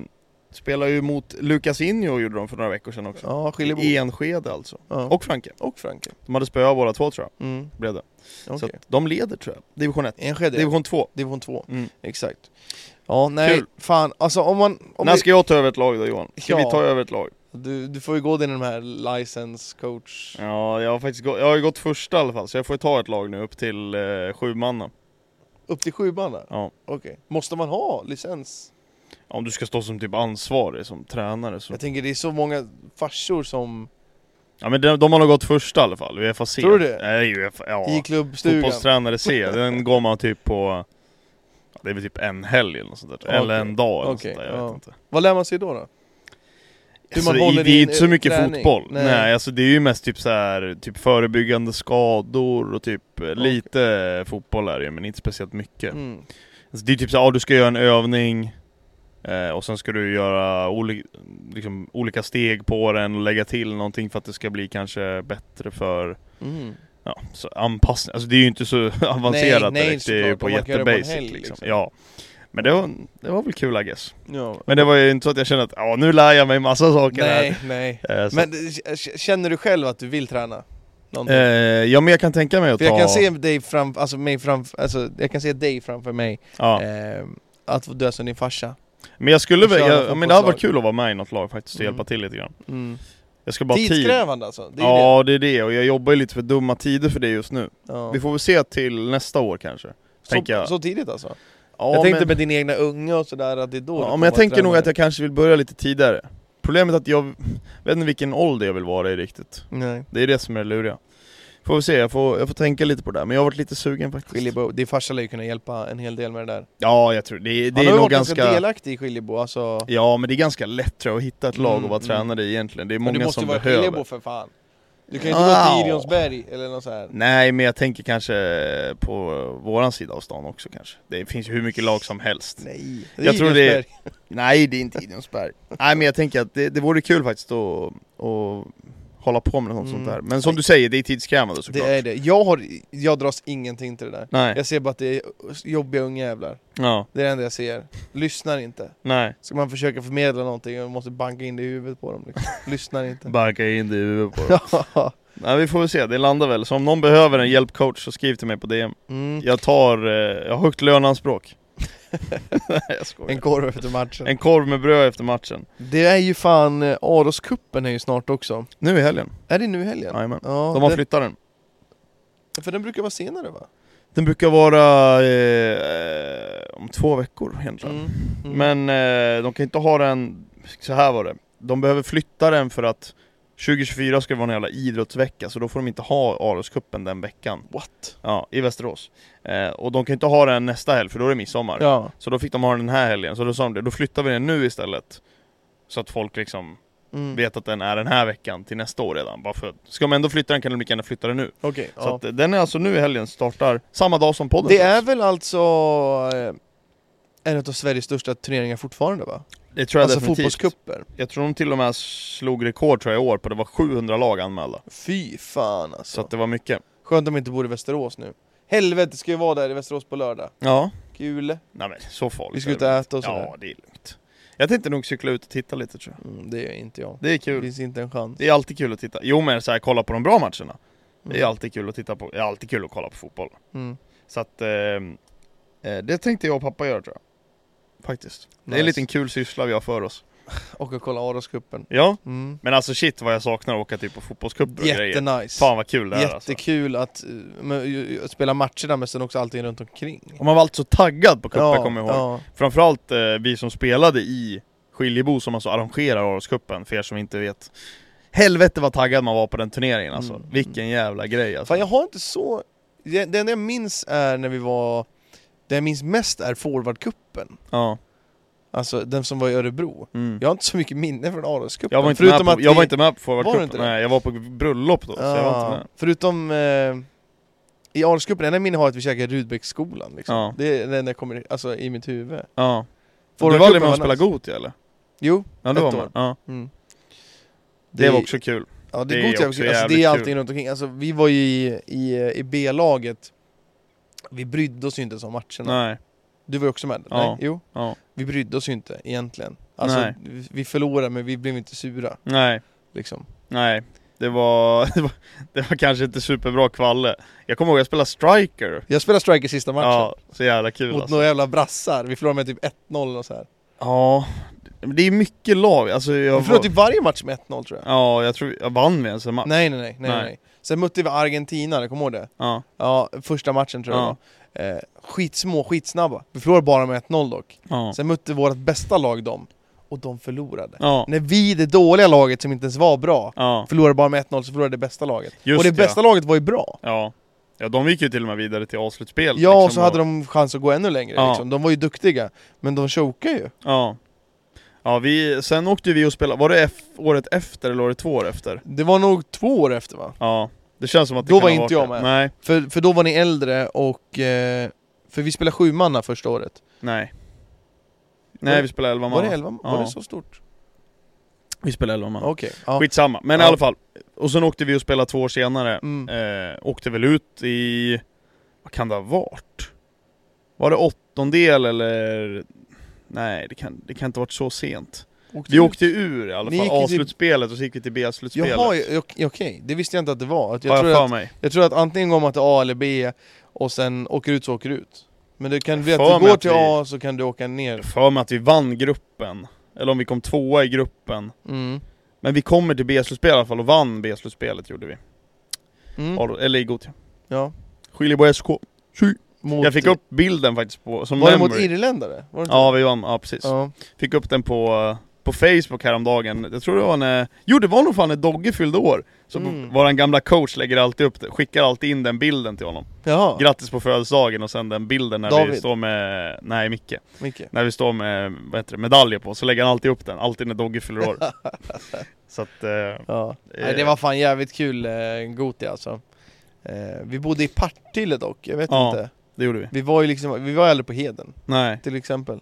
B: spelade ju mot Lucas Inho gjorde de för några veckor sedan också.
A: ja Skiljebo.
B: Enskede alltså.
A: Ja.
B: Och Franke.
A: och Frankrike.
B: De hade spöat båda två tror jag,
A: Mm.
B: blev det. Så
A: okej.
B: att de leder tror jag. Division 1.
A: Enskede, division,
B: Division 2.
A: division 2.
B: Mm.
A: Exakt. Ja, nej,
B: Kul.
A: fan. Alltså om man... Om
B: När
A: vi-
B: ska jag ta över ett lag då Johan? Ska
A: Ja.
B: vi ta över ett lag?
A: du, du får ju gå till de här license coach...
B: Ja, jag har faktiskt gått, jag har ju gått första i alla fall, så jag får ju ta ett lag nu upp till eh, sju manna.
A: Upp till sju man där?
B: Ja.
A: Okej. Måste man ha licens?
B: Om du ska stå som typ ansvarig som tränare så...
A: Jag tänker det är så många farsor som...
B: Ja men de, de har nog gått första i alla fall, Uefa C.
A: Tror du det?
B: Nej, Uefa, ja.
A: I klubbstugan?
B: Fotbollstränare C, den går man typ på... ja, Det är väl typ en helg eller något sånt där,
A: Okej.
B: eller en dag eller något
A: Okej,
B: sånt där, jag
A: ja.
B: vet inte.
A: Vad lär man sig då? då? Hur
B: Alltså,
A: man
B: det-
A: håller
B: det är
A: i
B: ju
A: en
B: inte så mycket
A: träning.
B: fotboll.
A: Nej.
B: Nej. alltså det är ju mest typ så här, typ förebyggande skador och typ eh, lite fotboll är det ju, men inte speciellt mycket.
A: Mm.
B: Alltså, det är typ så här, ah, du ska göra en övning eh, och sen ska du göra oli- liksom, olika steg på den och lägga till någonting för att det ska bli kanske bättre för
A: Mm.
B: ja, så anpassning. Alltså det är ju inte så avancerat
A: nej,
B: direkt, det är ju
A: såklart,
B: på
A: om man kan göra det på en
B: jättebasic
A: helg,
B: liksom.
A: liksom.
B: Ja. Men det var, det var väl kul I guess.
A: Ja.
B: Men det var ju inte så att jag kände att ja nu lär jag mig massa saker
A: Nej, nej.
B: här. Eh, så
A: Men eh, k- känner du själv att du vill träna? Någonting?
B: Eh, ja men jag kan tänka mig att
A: För jag
B: ta...
A: kan se dig framför, alltså mig framför, alltså jag kan se dig framför mig
B: ja.
A: eh, Att du är som din farsa
B: Men jag skulle väl,
A: köra
B: jag, men det hade varit
A: fotbollslag.
B: kul att vara med i något lag faktiskt och
A: Mm.
B: hjälpa till lite grann.
A: mm.
B: Jag ska bara ha tid.
A: Tidskrävande alltså, det är ju
B: ja det. är det, och jag jobbar ju lite för dumma tider för det just nu.
A: det ja.
B: Vi får väl se till nästa år kanske.
A: så,
B: tänker jag.
A: så tidigt alltså?
B: Ja,
A: jag tänkte
B: men,
A: med din egna unge och sådär att det är då du
B: ja,
A: kommer
B: men jag
A: vara
B: tänker nog
A: tränare.
B: att jag kanske vill börja lite tidigare. Problemet är att jag vet inte vilken ålder jag vill vara i riktigt.
A: Nej,
B: Det är det som är det luriga. Får vi se, jag får, jag får tänka lite på det där. Men jag har varit lite sugen faktiskt.
A: Skiljebo, din farsa lär ju kunna hjälpa en hel del med det där
B: Ja, jag tror det, det
A: Han har
B: är
A: ju
B: nog
A: varit ganska,
B: ganska...
A: delaktig i Skiljebo alltså
B: Ja, men det är ganska lätt tror jag att hitta ett lag
A: Mm,
B: och vara
A: mm.
B: tränare i egentligen. Det är
A: Men du
B: många
A: måste ju
B: som
A: vara i
B: behöver.
A: Skiljebo för fan Du kan ju inte gå
B: Wow.
A: till Irionsberg eller något så här.
B: Nej, men jag tänker kanske på våran sida av stan också kanske. Det finns ju hur mycket lag som helst.
A: Nej,
B: Jag tror det är-
A: Irionsberg.
B: Nej, det är inte Idensberg. Nej, men jag tänker att det, det vore kul faktiskt att, att hålla på med något
A: Mm.
B: sånt där. Men som du säger, det är tidskrävande
A: Det
B: såklart.
A: är det, jag har, jag dras ingenting till det där
B: Nej.
A: Jag ser bara att det är jobbiga ungjävlar
B: Ja.
A: Det är det enda jag ser. Lyssnar inte.
B: Nej.
A: Ska man försöka förmedla någonting och måste banka in det i huvudet på dem liksom. Lyssnar inte.
B: Banka in det i huvudet på dem.
A: Ja.
B: Nej, vi får väl se. Det landar väl. Så om någon behöver en hjälpcoach så skriv till mig på DM.
A: Mm.
B: Jag tar, eh, jag har högt löneanspråk. Nej, jag skojar.
A: En korv efter matchen.
B: En korv med bröd efter matchen.
A: Det är ju fan, eh, Aroskuppen är ju snart också.
B: Nu i helgen.
A: Är det nu i helgen?
B: Jajamän.
A: Ja,
B: De har
A: den,
B: flyttat den.
A: för den brukar vara senare va?
B: Den brukar vara eh, om två veckor egentligen.
A: Mm. Mm.
B: Men eh, de kan inte ha den, så här var det. De behöver flytta den för att 2024 ska det vara en jävla idrottsvecka, så då får de inte ha Aroscupen den veckan.
A: What?
B: Ja, i Västerås. Eh, och de kan inte ha den nästa helg, för då är det midsommar.
A: Ja.
B: Så då fick de ha den den här helgen, så då sa de det, då flyttar vi den nu istället. Så att folk liksom
A: Mm.
B: vet att den är den här veckan till nästa år redan. Bara för, att- ska de ändå flytta den kan de lika gärna flytta den nu.
A: Okej.
B: Så
A: ja.
B: att, eh, den är alltså nu i helgen, startar samma dag som podden.
A: Det är väl alltså eh, en av Sveriges största turneringar fortfarande va?
B: det tror jag
A: alltså
B: definitivt.
A: fotbollskupper.
B: Jag tror de till och med slog rekord tror jag i år på det var 700 lag anmälda.
A: Fy fan alltså.
B: Så att det var mycket.
A: Skönt att de inte bor i Västerås nu. Helvete ska ju vara där i Västerås på lördag.
B: Ja.
A: Kul.
B: Nej men så farligt.
A: Vi ska
B: är
A: ut
B: det
A: och
B: väl
A: äta och
B: inte.
A: sådär.
B: Ja, det är lugnt. Jag tänkte nog cykla ut och titta lite tror jag.
A: Mm, det är inte jag.
B: Det är
A: Det
B: kul.
A: finns inte en chans.
B: Det är alltid kul att titta. Jo men så här, kolla på de bra matcherna. Det är
A: Mm.
B: alltid kul att titta på. Det är alltid kul att kolla på fotboll.
A: Mm.
B: Så att eh, eh, det tänkte jag och pappa göra tror jag. Faktiskt. Det är en
A: Nice.
B: liten kul syssla vi har för oss.
A: Och att kolla Aroscupen.
B: Ja.
A: Mm.
B: Men alltså shit vad jag saknar att åka typ på fotbollscuper och grejer.
A: Jättenice.
B: Fan vad kul det är alltså.
A: Jättekul att eh, men, ju- ju- spela matcherna men sen också allting runt omkring.
B: Och man var alltid så taggad på cuper kommer jag ihåg.
A: Ja.
B: Framförallt eh, vi som spelade i Skiljebo som alltså arrangerar Aroscupen, för er som inte vet Helvete vad taggad man var på den turneringen alltså,
A: Mm.
B: vilken jävla grej alltså.
A: Fan jag har inte så... Det det enda jag minns är när vi var... Det jag minns mest är forwardcupen.
B: ja.
A: Alltså den som var i Örebro.
B: mm.
A: Jag har inte så mycket minne från Aroscupen.
B: jag, var inte med på, jag var inte med på
A: Var du
B: Forwardcupen,
A: inte det?
B: nej jag var på bröllop då, så jag var inte
A: Ja,
B: med
A: Förutom eh, I Arlscupen, enda minne har jag att vi käkade Rudbecksskolan liksom.
B: Ja.
A: Det är den jag kommer alltså, i mitt huvud.
B: Ja.
A: Får
B: du
A: du
B: var aldrig
A: klubben
B: med och
A: var
B: spelade
A: nice.
B: Gothia eller?
A: Jo,
B: Ja, det
A: Ett
B: var
A: år.
B: man. Ja.
A: mm.
B: Det, var också kul.
A: Ja det,
B: Det
A: är
B: är
A: gott jag
B: också
A: försöker- alltså, det
B: jävligt
A: är
B: kul.
A: allting runt omkring. Alltså, vi var ju i, i, i B-laget, vi brydde oss ju inte så om matcherna.
B: Nej.
A: Du var ju också med?
B: Ja.
A: Nej? Jo.
B: Ja.
A: Vi brydde oss ju inte egentligen. Alltså,
B: Nej.
A: vi- vi förlorade men vi blev inte sura
B: Nej.
A: liksom.
B: Nej. Det var, det var, det var kanske inte superbra kvalle. Jag kommer ihåg jag spelade striker.
A: Jag spelade striker sista matchen.
B: Ja, så jävla kul
A: Mot
B: alltså.
A: några jävla brassar, vi förlorade med typ 1-0 och så här.
B: Ja. Men Det är mycket lag. Alltså, jag
A: Vi förlorade
B: var-
A: typ varje match med 1-0 tror jag.
B: Ja, jag tror, jag vann vi ens en match?
A: Nej, nej, nej, nej, nej.
B: Nej.
A: nej. Sen mötte vi Argentina, det kommer ihåg det?
B: Ja.
A: Ja, första matchen tror jag
B: Ja.
A: det var. Eh, skitsmå, skitsnabba. Vi förlorade bara med 1-0 dock.
B: Ja.
A: Sen mötte vårt bästa lag dem, och de förlorade.
B: Ja.
A: När vi, det dåliga laget som inte ens var bra,
B: Ja.
A: förlorade bara med 1-0 så förlorade det bästa laget.
B: Just
A: och det
B: det,
A: bästa laget var ju bra.
B: Ja. Ja, de gick ju till och med vidare till avslutsspel.
A: Ja, och
B: liksom,
A: så hade de chans att gå ännu längre
B: Ja.
A: liksom. De var ju duktiga, men de chokade ju.
B: Ja. Ja, vi, sen åkte vi och spelade, var det F, året efter eller året två år efter?
A: Det var nog två år efter va?
B: Ja, det känns som att det
A: Då
B: kan
A: var
B: ha
A: inte
B: varit
A: jag
B: det.
A: med.
B: Nej,
A: För, för då var ni äldre och... Eh, för vi spelade sju manna första året.
B: nej.
A: Var-
B: Nej, vi spelade elva man.
A: Var det elva? Var
B: Ja.
A: det så stort?
B: Vi spelade elva man.
A: Okej. Ja.
B: Skitsamma, men
A: Ja.
B: i alla fall. Och sen åkte vi och spelade två år senare.
A: Mm.
B: Eh, åkte väl ut i, vad kan det ha varit? Var det åttondel eller? Nej, det kan, det kan inte ha varit så sent. Vi
A: ut?
B: åkte ur i alla
A: Ni gick
B: fall,
A: ju till-
B: avslutspelet och så gick vi till B-slutspelet.
A: Jaha, ja, okej. okej. Det visste jag inte att det var. Att
B: har
A: jag,
B: jag
A: tror
B: för
A: att,
B: mig.
A: jag tror att antingen går man till A eller B och sen åker ut så åker du ut. Men det kan bli att
B: För
A: du
B: mig
A: går
B: att
A: till
B: vi-
A: A så kan du åka ner.
B: för mig att vi vann gruppen, eller om vi kom tvåa i gruppen.
A: Mm.
B: Men vi kommer till B-slutspel i alla fall och vann B-slutspelet gjorde vi.
A: Mm.
B: Ar- Eller i Gothia.
A: Ja.
B: Skiljebo SK. Tju.
A: Mot,
B: Jag fick upp bilden faktiskt på, som
A: Var det mot
B: memory.
A: irländare? Var det inte
B: Ja, vi vann. Ja, precis.
A: det? Ja.
B: Fick upp den på, på Facebook häromdagen. Jag tror det var när... Jo, det var nog fan när Dogge fyllde år. Så
A: Mm.
B: våran gamla coach lägger alltid upp det, skickar alltid in den bilden till honom.
A: Jaha,
B: Grattis på födelsedagen och sen den bilden när vi
A: David.
B: står med... Nej, Micke.
A: Micke.
B: När vi står med vad heter det, medaljer på, så lägger han alltid upp den, alltid när Dogge fyller år. så att... Eh,
A: Ja. Nej, det var fan jävligt kul, eh, Gothia alltså. Eh, vi bodde i Partille dock, jag vet
B: Ja.
A: inte.
B: det gjorde vi.
A: Vi var ju liksom, vi var aldrig på Heden
B: Nej,
A: till exempel.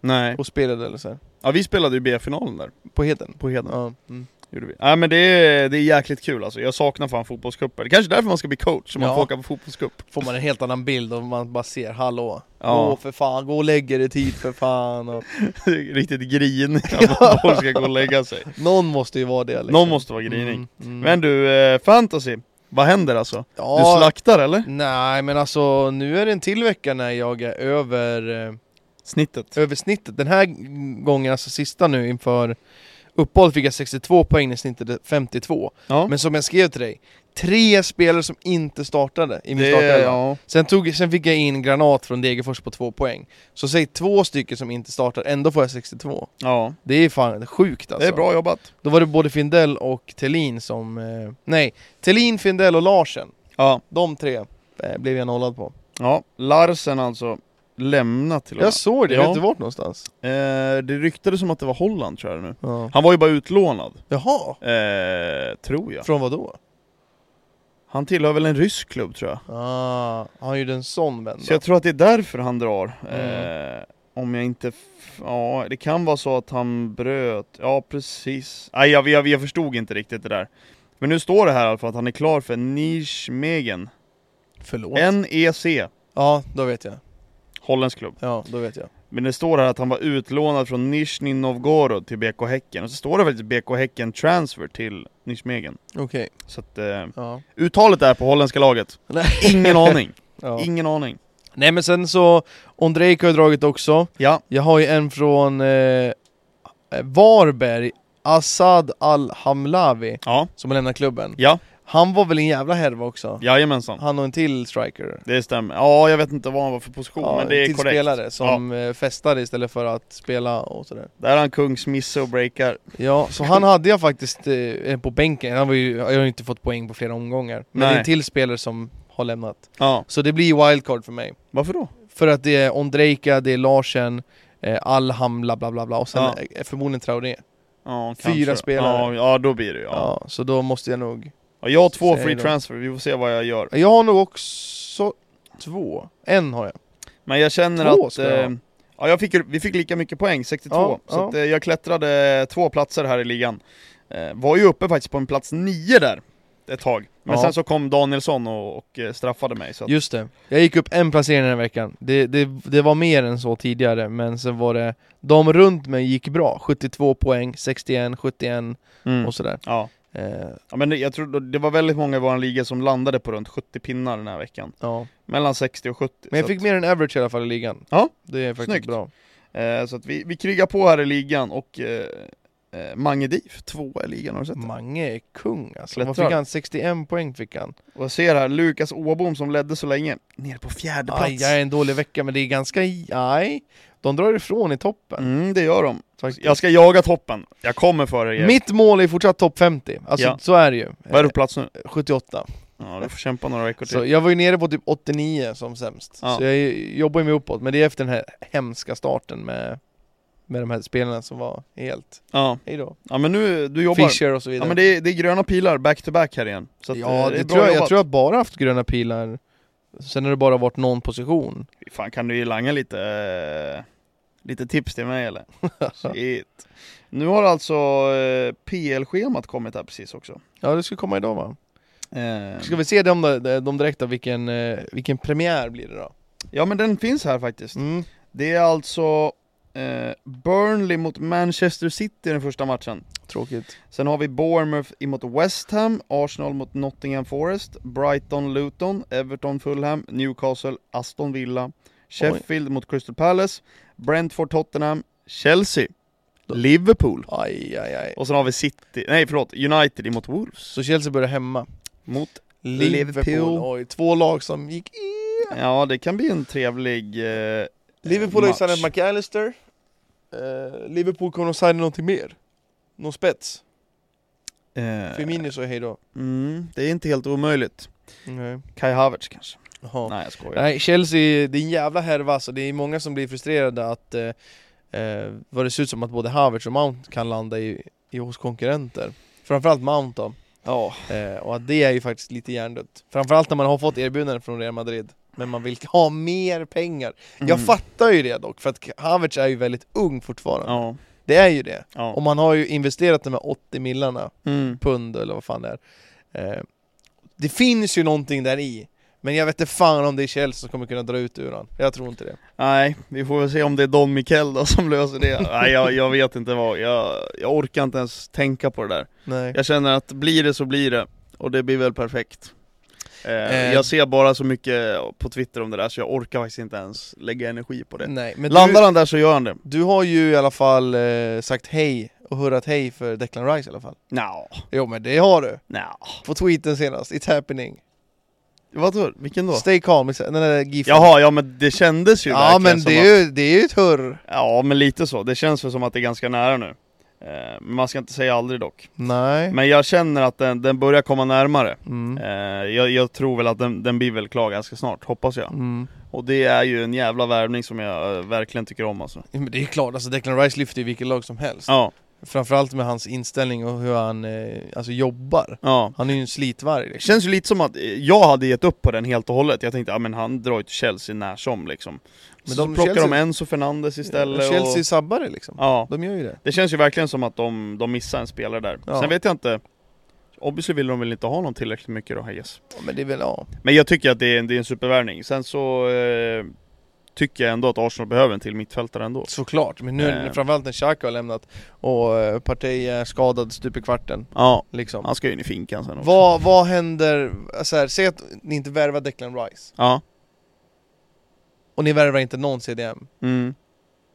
B: nej.
A: Och spelade eller så här.
B: Ja vi spelade ju B-finalen där,
A: På Heden.
B: på Heden.
A: Ja. Mm.
B: Gjorde vi. Nej men det är, det är jäkligt kul alltså, jag saknar fan fotbollscuper. Det kanske är därför man ska bli coach, så man
A: Ja.
B: får åka på fotbollscup.
A: Får man en helt annan bild och man bara ser, hallå.
B: Ja.
A: Gå för fan, gå och lägg er i tid för fan. Och...
B: Riktigt grin att folk ska gå och lägga sig.
A: Någon måste ju vara det liksom.
B: Någon måste vara grinig.
A: Mm, mm.
B: Men du, eh, fantasy. Vad händer alltså?
A: ja,
B: Du slaktar eller?
A: Nej men alltså nu är det en till vecka när jag är över eh,
B: Snittet.
A: över snittet. Den här gången, alltså sista nu inför uppehåll fick jag 62 poäng när snittet är 52.
B: Ja.
A: Men som jag skrev till dig, tre spelare som inte startade i min
B: det,
A: startelva.
B: ja.
A: Sen, tog, sen fick jag in Granat från Degerfors på två poäng. Så säg två stycken som inte startar, ändå får jag 62.
B: ja,
A: Det är fan sjukt
B: det
A: alltså.
B: är bra jobbat.
A: Då var det både Findell och Thelin som... Eh, nej, Thelin, Findell och Larsen.
B: Ja.
A: De tre eh, blev jag nollad på.
B: Ja, Larsen alltså lämnat till och med.
A: Jag såg det, jag
B: Ja.
A: vet inte vart någonstans.
B: Eh, det ryktades som att det var Holland tror jag nu.
A: Ja.
B: Han var ju bara utlånad,
A: Jaha,
B: eh, tror jag.
A: från vad då?
B: Han tillhör väl en rysk klubb tror jag.
A: Ah, han gjorde en sån vända.
B: Så jag tror att det är därför han drar.
A: Mm.
B: Eh, om jag inte... F- ja, det kan vara så att han bröt. Ja, precis. Nej, jag, jag, jag förstod inte riktigt det där. Men nu står det här i alla fall att han är klar för Nijmegen.
A: Förlåt?
B: NEC,
A: Ja, då vet jag.
B: holländsk klubb.
A: Ja, då vet jag.
B: Men det står här att han var utlånad från Nizjnij Novgorod till BK Häcken. Och så står det faktiskt BK Häcken transfer till Nijmegen.
A: Okej,
B: Så att... Eh,
A: ja.
B: Uttalet är på holländska laget.
A: Nej.
B: Ingen aning.
A: ja.
B: Ingen aning.
A: Nej men sen så, Ondrejko har jag dragit också.
B: Ja.
A: Jag har ju en från eh, Varberg, Assad Al-Hamlawi,
B: Ja.
A: som har lämnat klubben.
B: Ja.
A: Han var väl en jävla härva också?
B: Jajamensan.
A: Han och en till striker.
B: Det stämmer. Ja, jag vet inte vad han var för position,
A: Ja,
B: men det är
A: till
B: korrekt.
A: spelare som eh, festade istället för att spela och sådär.
B: Där är han kungs misse och breakar.
A: Ja, så han hade jag faktiskt eh, på bänken. Han var ju, jag har ju inte fått poäng på flera omgångar. Men det är
B: Nej.
A: en till spelare som har lämnat.
B: Ja.
A: Så det blir wildcard för mig.
B: Varför då?
A: För att det är Ondrejka, det är Larsen, eh, Alham, bla bla bla bla och sen
B: Ja.
A: eh, förmodligen Traoré.
B: Ja,
A: Fyra
B: kanske.
A: spelare.
B: Ja, ja då blir det ju.
A: Ja.
B: Ja.
A: så då måste jag nog
B: Ja, jag har två
A: Säg
B: free
A: då.
B: transfer, vi får se vad jag gör.
A: Jag har nog också två. En har jag.
B: Men jag känner
A: Två
B: att...
A: ska jag ha.
B: Eh, ja, jag fick, ju- vi fick lika mycket poäng, 62.
A: Ja,
B: så
A: ja.
B: Att, eh, jag klättrade två platser här i ligan. Eh, var ju uppe faktiskt på en plats nio där, ett tag. Men
A: Ja.
B: sen så kom Danielsson och, och eh, straffade mig. Så att,
A: Just det. Jag gick upp en placering den här veckan. Det, det, det var mer än så tidigare, men sen var det... De runt mig gick bra. 72 poäng, 61, 71
B: mm.
A: och sådär.
B: ja.
A: Eh,
B: ja, men det- jag tror det var väldigt många i vår liga som landade på runt 70 pinnar den här veckan.
A: ja.
B: Mellan 60 och 70.
A: Men jag
B: så
A: fick mer än average i alla fall i ligan.
B: Ja.
A: Det är faktiskt
B: Snyggt.
A: bra.
B: Eh, Så att vi, vi krigar på här i ligan och eh, eh, Mange Div, tvåa i ligan, har du sett det?
A: Mange är kung alltså. Vad
B: Klättrar.
A: fick han? 61 poäng fick han.
B: Och jag ser här, Lukas Åbom som ledde så länge, nere på fjärde
A: Aj,
B: plats.
A: jag är en dålig vecka, men det är ganska... Nej. De drar ifrån i toppen.
B: Mm, det gör de.
A: faktiskt.
B: Jag ska jaga toppen, jag kommer före er.
A: Mitt mål är fortsatt topp 50. Alltså
B: Mm. Ja.
A: så är det ju.
B: Vad är du på plats nu?
A: Eh, 78.
B: Ja, du får kämpa några veckor till.
A: Så jag var ju nere på typ 89 som sämst.
B: Ja.
A: Så jag jobbar ju mig uppåt, men det är efter den här hemska starten med, med de här spelarna som var helt...
B: Ja.
A: Hejdå.
B: ja, men nu, du jobbar.
A: Fischer och så
B: Ja
A: vidare.
B: men det är, det är gröna pilar back-to-back här igen. Så att, eh,
A: Ja,
B: är
A: det
B: bra
A: tror jag, jag
B: jobbat.
A: tror jag bara haft gröna pilar Sen har det bara varit någon position
B: Fan, kan du ge Lange lite, eh, lite tips till mig eller? Shit. Nu har alltså eh, PL-schemat kommit här precis också.
A: Ja det ska komma idag va?
B: Eh,
A: Ska vi se dem där, de direkt då, vilken, eh, vilken premiär blir det då?
B: Ja men den finns här faktiskt.
A: Mm.
B: Det är alltså eh, Burnley mot Manchester City den första matchen.
A: Tråkigt
B: Sen har vi Bournemouth emot West Ham, Arsenal mot Nottingham Forest, Brighton Luton, Everton Fulham, Newcastle Aston Villa, Sheffield mot Crystal Palace, Brentford Tottenham, Chelsea,
A: Då-
B: Liverpool.
A: Aj aj aj
B: Och sen har vi City, nej förlåt, United emot Wolves.
A: Så Chelsea börjar hemma
B: Mot,
A: Liverpool,
B: Liverpool.
A: Oj, två lag som gick i
B: ja det kan bli en trevlig... Eh,
A: Liverpool har ju
B: Match.
A: signat McAllister eh, Liverpool kommer att signa någonting mer Någon spets?
B: eh,
A: Firmino sa hej då
B: mm, det är inte helt omöjligt.
A: Nej.
B: Kai Havertz kanske.
A: Jaha.
B: Nej jag skojar.
A: Nej, Chelsea, det är en jävla härva alltså. Det är många som blir frustrerade att eh, eh, vad det ser ut som att både Havertz och Mount kan landa i, i hos konkurrenter. Framförallt Mount då.
B: Ja,
A: Eh, och att det är ju faktiskt lite hjärndött. Framförallt när man har fått erbjudanden från Real Madrid. Men man vill ha mer pengar.
B: Mm.
A: Jag fattar ju det dock, för att Havertz är ju väldigt ung fortfarande.
B: Ja,
A: Det är ju det.
B: ja.
A: Och man har ju investerat de här 80 millarna
B: Mm.
A: pund eller vad fan det är. Eh, det finns ju någonting där i. Men jag vet inte fan om det är Chelsea som kommer kunna dra ut ur han. Jag tror inte det.
B: Nej, vi får väl se om det är Don Mikael då som löser det. Nej, jag, jag vet inte vad. Jag, jag orkar inte ens tänka på det där.
A: Nej.
B: Jag känner att blir det så blir det. Och det blir väl perfekt. Eh,
A: Eh.
B: Jag ser bara så mycket på Twitter om det där så jag orkar faktiskt inte ens lägga energi på det.
A: Nej. Mm. Men
B: Landar
A: du,
B: han där så gör han det.
A: du har ju i alla fall eh, sagt hej och hurrat hej för Declan Rice i alla fall.
B: Nja,
A: Jo men det har du.
B: nja.
A: På tweeten senast. It's happening.
B: Vad då? Vilken då?
A: Stay calm. Den där giffen.
B: Jaha, ja men det kändes ju
A: ja
B: verkligen
A: men
B: som
A: det
B: att...
A: är, ju, det är ju ett hurr.
B: Ja men lite så, det känns väl som att det är ganska nära nu. Eh, Men man ska inte säga aldrig dock.
A: Nej.
B: Men jag känner att den, den börjar komma närmare.
A: Mm.
B: Eh, jag, jag tror väl att den, den blir väl klar ganska snart, hoppas jag.
A: Mm.
B: Och det är ju en jävla värvning som jag eh, verkligen tycker om alltså.
A: Ja, Men det är klart, alltså Declan Rice lyfter ju vilket lag som helst.
B: Ja,
A: Framförallt med hans inställning och hur han eh, alltså jobbar.
B: ja.
A: Han är ju en slitvarg liksom.
B: Det känns ju lite som att eh, jag hade gett upp på den helt och hållet. Jag tänkte, ja men han drar ju till Chelsea när som liksom.
A: Men
B: Men
A: de-
B: så plockar de
A: Chelsea-
B: Enzo Fernandes istället
A: Ja, Chelsea
B: och...
A: sabbar det liksom.
B: Ja,
A: De gör ju det.
B: det känns ju verkligen som att de, de missar en spelare där.
A: Ja.
B: Sen vet jag inte. Obviously vill de väl inte ha honom tillräckligt mycket då, I guess.
A: Ja, men det är väl, ja.
B: Men jag tycker att det är en, det är en supervärvning. Sen så eh, tycker jag ändå att Arsenal behöver en till mittfältare ändå.
A: Såklart, men nu
B: Eh.
A: framförallt när Xhaka har lämnat och eh, Partey är skadad stup i kvarten
B: Ja,
A: liksom.
B: han ska ju in i finkan sen också.
A: vad, vad händer, så här, säg att ni inte värvar Declan Rice
B: Ja.
A: och ni värvar inte någon CDM.
B: Mm.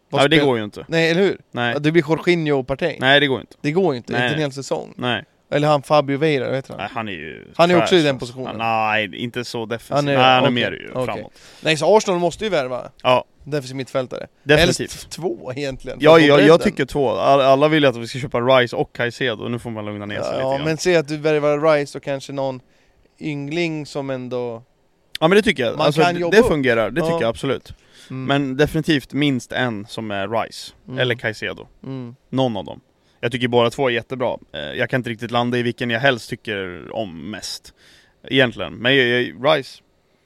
A: Vad
B: ja, det
A: spel-
B: går ju inte.
A: Nej, eller hur?
B: Nej,
A: Att Det blir Jorginho och Partey.
B: Nej det går ju inte.
A: Det går ju inte,
B: Nej.
A: inte en hel säsong.
B: Nej.
A: Eller han Fabio Veira, vad heter han?
B: Nej han är ju...
A: Han är också
B: tvärs,
A: i den
B: alltså.
A: positionen.
B: Nej, inte så defensiv.
A: Han är-
B: Nej, han är
A: okej,
B: mer ju
A: okej.
B: framåt.
A: Nej, så Arsenal måste ju värva
B: Ja,
A: defensiv mittfältare.
B: definitivt.
A: Helst två egentligen. för
B: Ja,
A: att få
B: jag, jag
A: bredden.
B: tycker två. All- Alla vill ju att vi ska köpa Rice och Caicedo, och nu får man lugna ner sig lite
A: Ja,
B: grann.
A: men se att du värvar Rice och kanske någon yngling som ändå...
B: Ja men det tycker jag.
A: Man
B: Alltså,
A: kan
B: det-
A: jobba
B: det
A: upp.
B: fungerar, det
A: Ja.
B: tycker jag absolut.
A: Mm.
B: Men definitivt minst en som är Rice,
A: Mm.
B: eller Caicedo.
A: Mm.
B: Någon av dem. Jag tycker båda två är jättebra. Eh, Jag kan inte riktigt landa i vilken jag helst tycker om mest. Egentligen. Men jag, jag, Rice,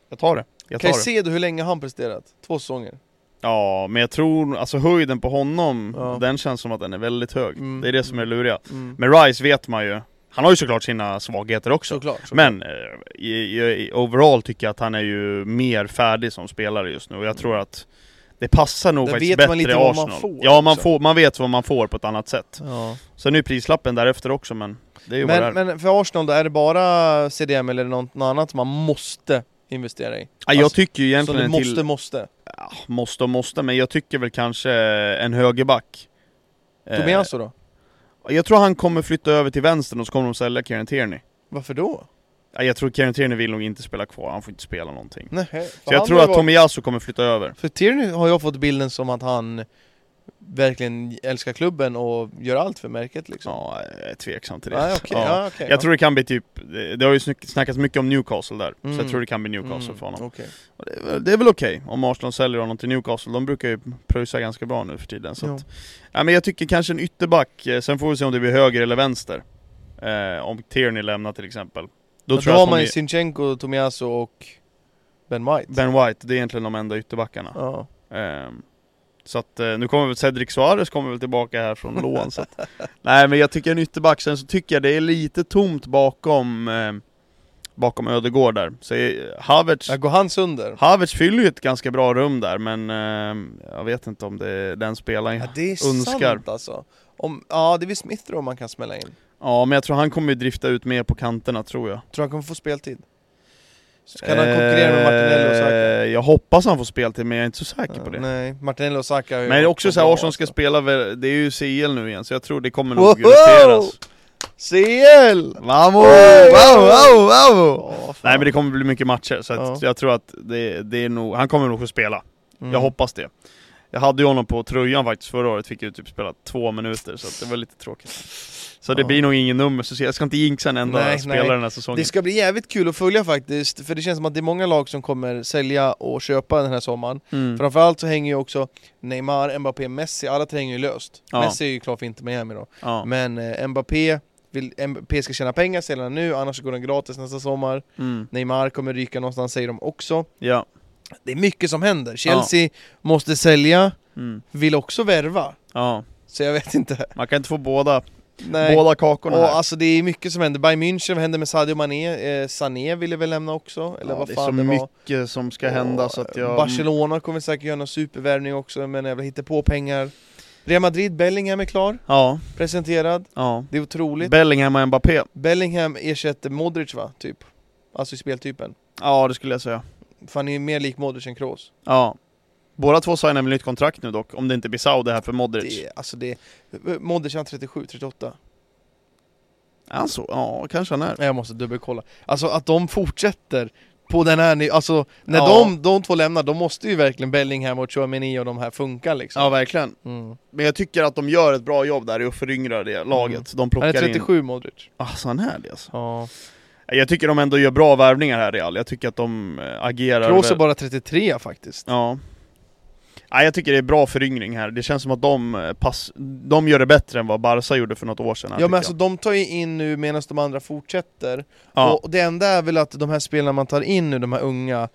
B: jag tar det. Jag tar det.
A: Caicedo, hur länge har han presterat? Två säsonger?
B: Ja, men jag tror, alltså höjden på honom,
A: Ja.
B: den känns som att den är väldigt hög.
A: Mm.
B: Det är det som är det luriga.
A: Mm.
B: Men Rice vet man ju, han har ju såklart sina svagheter också.
A: Såklart. såklart.
B: Men eh, i, i, i- overall tycker jag att han är ju mer färdig som spelare just nu och jag tror att det passar nog
A: Mm. Där
B: faktiskt
A: vet
B: bättre
A: man lite
B: i
A: vad man
B: Arsenal.
A: får
B: ja, man,
A: också.
B: får, man vet vad man får på ett annat sätt.
A: ja.
B: Sen är ju prislappen därefter också men det är ju vad det är.
A: men, men för Arsenal då, är det bara CDM eller är det något något annat man måste investera i?
B: ja, jag
A: alltså,
B: tycker ju
A: Som
B: egentligen
A: du
B: en
A: måste,
B: till...
A: måste?
B: Ja, måste och måste, men jag tycker väl kanske en högerback. Eh,
A: Tomiasso då?
B: Jag tror han kommer flytta över till vänstern och så kommer de sälja Kieran Tierney.
A: Varför då?
B: Ja, Jag tror Kieran Tierney vill nog inte spela kvar, han får inte spela någonting.
A: Nej, Mm. för
B: Så jag
A: han
B: tror
A: har
B: att
A: ju varit-
B: Tomiyasu kommer flytta över.
A: För Tierney har jag fått bilden som att han verkligen älskar klubben och gör allt för märket liksom.
B: Ja, jag är tveksam till det.
A: ah, okej,
B: Ja.
A: ja. okej, ja.
B: Jag tror det kan bli typ, det det har ju snick- snackats mycket om Newcastle där, så
A: Mm.
B: jag tror det kan bli Newcastle för honom.
A: okej.
B: Och Det är väl, det är väl okej om Arsenal säljer honom till Newcastle, de brukar ju pröjsa ganska bra nu för tiden. Så
A: Ja.
B: att, ja, men jag tycker kanske en ytterback, eh, sen får vi se om det blir höger eller vänster. Eh, om Tierney lämnar till exempel. Då
A: Då,
B: tror
A: har
B: jag att
A: man
B: de
A: ju
B: är-
A: Sinchenko, Tomiasso och Ben White.
B: Ben White, det är egentligen de enda ytterbackarna.
A: Ja.
B: Ehm, Så att eh, nu kommer väl Cedric Suarez kommer väl tillbaka här från lån så att, Nej men jag tycker en ytterback, sen så tycker jag det är lite tomt bakom eh, Bakom Ödegård där, så eh, Havertz
A: Ja, Äh, Går han sönder?
B: Havertz fyller ju ett ganska bra rum där men eh, Jag vet inte om det är den spelaren
A: Ja, det är
B: Önskar.
A: sant alltså. Om, ja, det är väl Smith då man kan smälla in.
B: Ja men jag tror han kommer ju drifta ut mer på kanterna tror jag
A: Tror han kommer få speltid? Så kan han konkurrera med Martinelli och Saka?
B: Eh, Jag hoppas han får spel till men jag är inte så säker på det
A: Nej, Martinelli och Saka har ju
B: Men det är
A: varit
B: också så här,
A: bra,
B: Arsenal ska
A: alltså.
B: spela, väl- det är ju CL nu igen så jag tror det kommer
A: Woho!
B: nog justeras
A: CL!
B: Vamos!
A: Hey!
B: vamos!
A: Ja, fan.
B: Nej men det kommer bli mycket matcher, så att
A: Ja.
B: jag tror att det, det är nog, han kommer nog få spela.
A: Mm.
B: Jag hoppas det. Jag hade ju honom på tröjan faktiskt förra året, fick ju typ spela två minuter, så att det var lite tråkigt. Så det
A: Ja.
B: blir nog ingen nummer, så jag ska inte jinxa en enda
A: Nej,
B: spelare
A: nej.
B: den här säsongen.
A: Det ska bli jävligt kul att följa faktiskt, för det känns som att det är många lag som kommer sälja och köpa den här sommaren.
B: Mm.
A: Framförallt så hänger ju också Neymar, Mbappé, Messi, alla tre hänger ju löst.
B: Ja.
A: Messi är ju klar för inte Miami då.
B: Ja.
A: Men eh, Mbappé, vill, Mbappé ska tjäna pengar, sälja den nu, annars så går den gratis nästa sommar.
B: Mm.
A: Neymar kommer ryka någonstans säger de också.
B: ja.
A: Det är mycket som händer. Chelsea måste sälja,
B: Mm.
A: vill också värva.
B: ja.
A: Så jag vet inte.
B: Man kan inte få båda,
A: Nej.
B: båda kakorna
A: Och
B: här.
A: alltså det är mycket som händer. Bayern München, vad hände med Sadio Mané? Eh, Sané ville väl lämna också? Eller
B: ja,
A: vad
B: det är
A: fan
B: så
A: det var.
B: mycket som ska hända
A: Och,
B: så att
A: eh,
B: jag...
A: Barcelona kommer säkert göra någon supervärvning också men jag hittar på pengar. Real Madrid, Bellingham är klar,
B: Ja,
A: presenterad.
B: ja.
A: Det är otroligt.
B: Bellingham och Mbappé.
A: Bellingham ersätter Modric va, typ? Alltså i speltypen.
B: Ja, det skulle jag säga.
A: För han är ju mer lik Modric än Kroos.
B: Ja. Båda två signar med nytt kontrakt nu dock, om det inte blir Saudi här för Modric.
A: Det, är- alltså det, är- Modric han 37, 38.
B: Alltså, ja, kanske han är.
A: Nej, Jag måste dubbelkolla. Alltså att de fortsätter på den här ni- alltså när
B: Ja.
A: de, de två lämnar, då måste ju verkligen Bellingham och Chouameni och de här funka liksom.
B: Ja, verkligen.
A: Mm.
B: Men jag tycker att de gör ett bra jobb där i att föryngra Mm. det laget. De
A: Han är
B: plockar
A: 37 Modric.
B: in... Alltså, han är det alltså.
A: Ja.
B: Jag tycker de ändå gör bra värvningar här Real. Jag tycker att de eh, agerar...
A: Kroos är
B: väl-
A: bara 33 faktiskt.
B: Ja. Nej, jag tycker det är bra föryngring här. Det känns som att de, eh, pass... de gör det bättre än vad Barca gjorde för något år sedan. här,
A: Ja men
B: tycker
A: alltså de tar ju in nu medan de andra fortsätter
B: jag. ja.
A: Och det enda är väl att de här spelarna man tar in nu, de här unga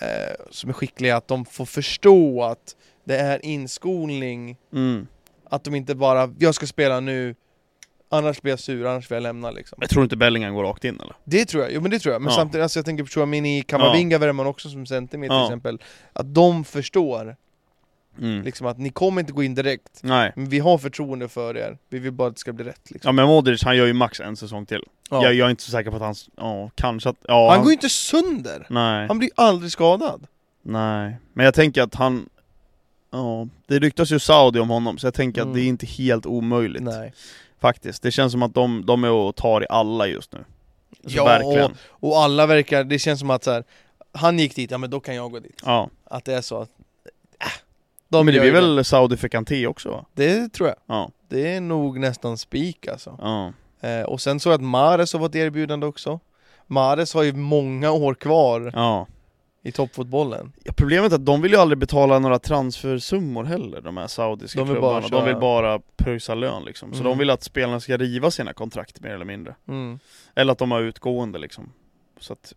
A: eh, Som är skickliga, att de får förstå att det är inskolning
B: Mm.
A: Att de inte bara, jag ska spela nu Annars blir jag sur, annars vill jag lämna liksom
B: Jag tror inte Bellingham går rakt in eller?
A: Det tror jag, jo men det tror jag, men
B: Ja.
A: samtidigt, alltså jag tänker på Chouamini, Kamavinga värmer man också som centimeter
B: Ja.
A: till exempel Att de förstår
B: Mm.
A: liksom att ni kommer inte gå in direkt
B: Nej.
A: Men vi har förtroende för er, vi vill bara att det ska bli rätt liksom
B: Ja men Modric, han gör ju max en säsong till.
A: Ja.
B: Jag, jag är inte så säker på att han... Ja, kanske att... Ja,
A: Han går ju inte sönder!
B: Nej.
A: Han blir aldrig skadad.
B: Nej, men jag tänker att han... Ja, det ryktas ju Saudi om honom, så jag tänker
A: Mm.
B: att det är inte helt omöjligt
A: Nej.
B: faktiskt. Det känns som att de, de är och tar i alla just nu. Alltså,
A: Ja,
B: verkligen.
A: Och alla verkar, det känns som att så här, han gick dit, ja men då kan jag gå dit.
B: Ja.
A: Att det är så att... Äh, de
B: Men det
A: gör
B: blir
A: ju
B: väl Saudi för Kanté också? Va?
A: Det Det tror jag.
B: Ja.
A: Det är nog nästan spik alltså.
B: ja.
A: Eh, och sen såg jag att Mares har fått erbjudande också. Mares har ju många år kvar
B: ja.
A: i toppfotbollen.
B: Ja, problemet är att de vill ju aldrig betala några transfersummor heller, de här saudiska
A: De vill bara
B: klubbarna.
A: köra.
B: de vill bara pröjsa lön liksom. Så
A: Mm.
B: de vill att spelarna ska riva sina kontrakt mer eller mindre.
A: Mm.
B: Eller att de har utgående liksom. Så att,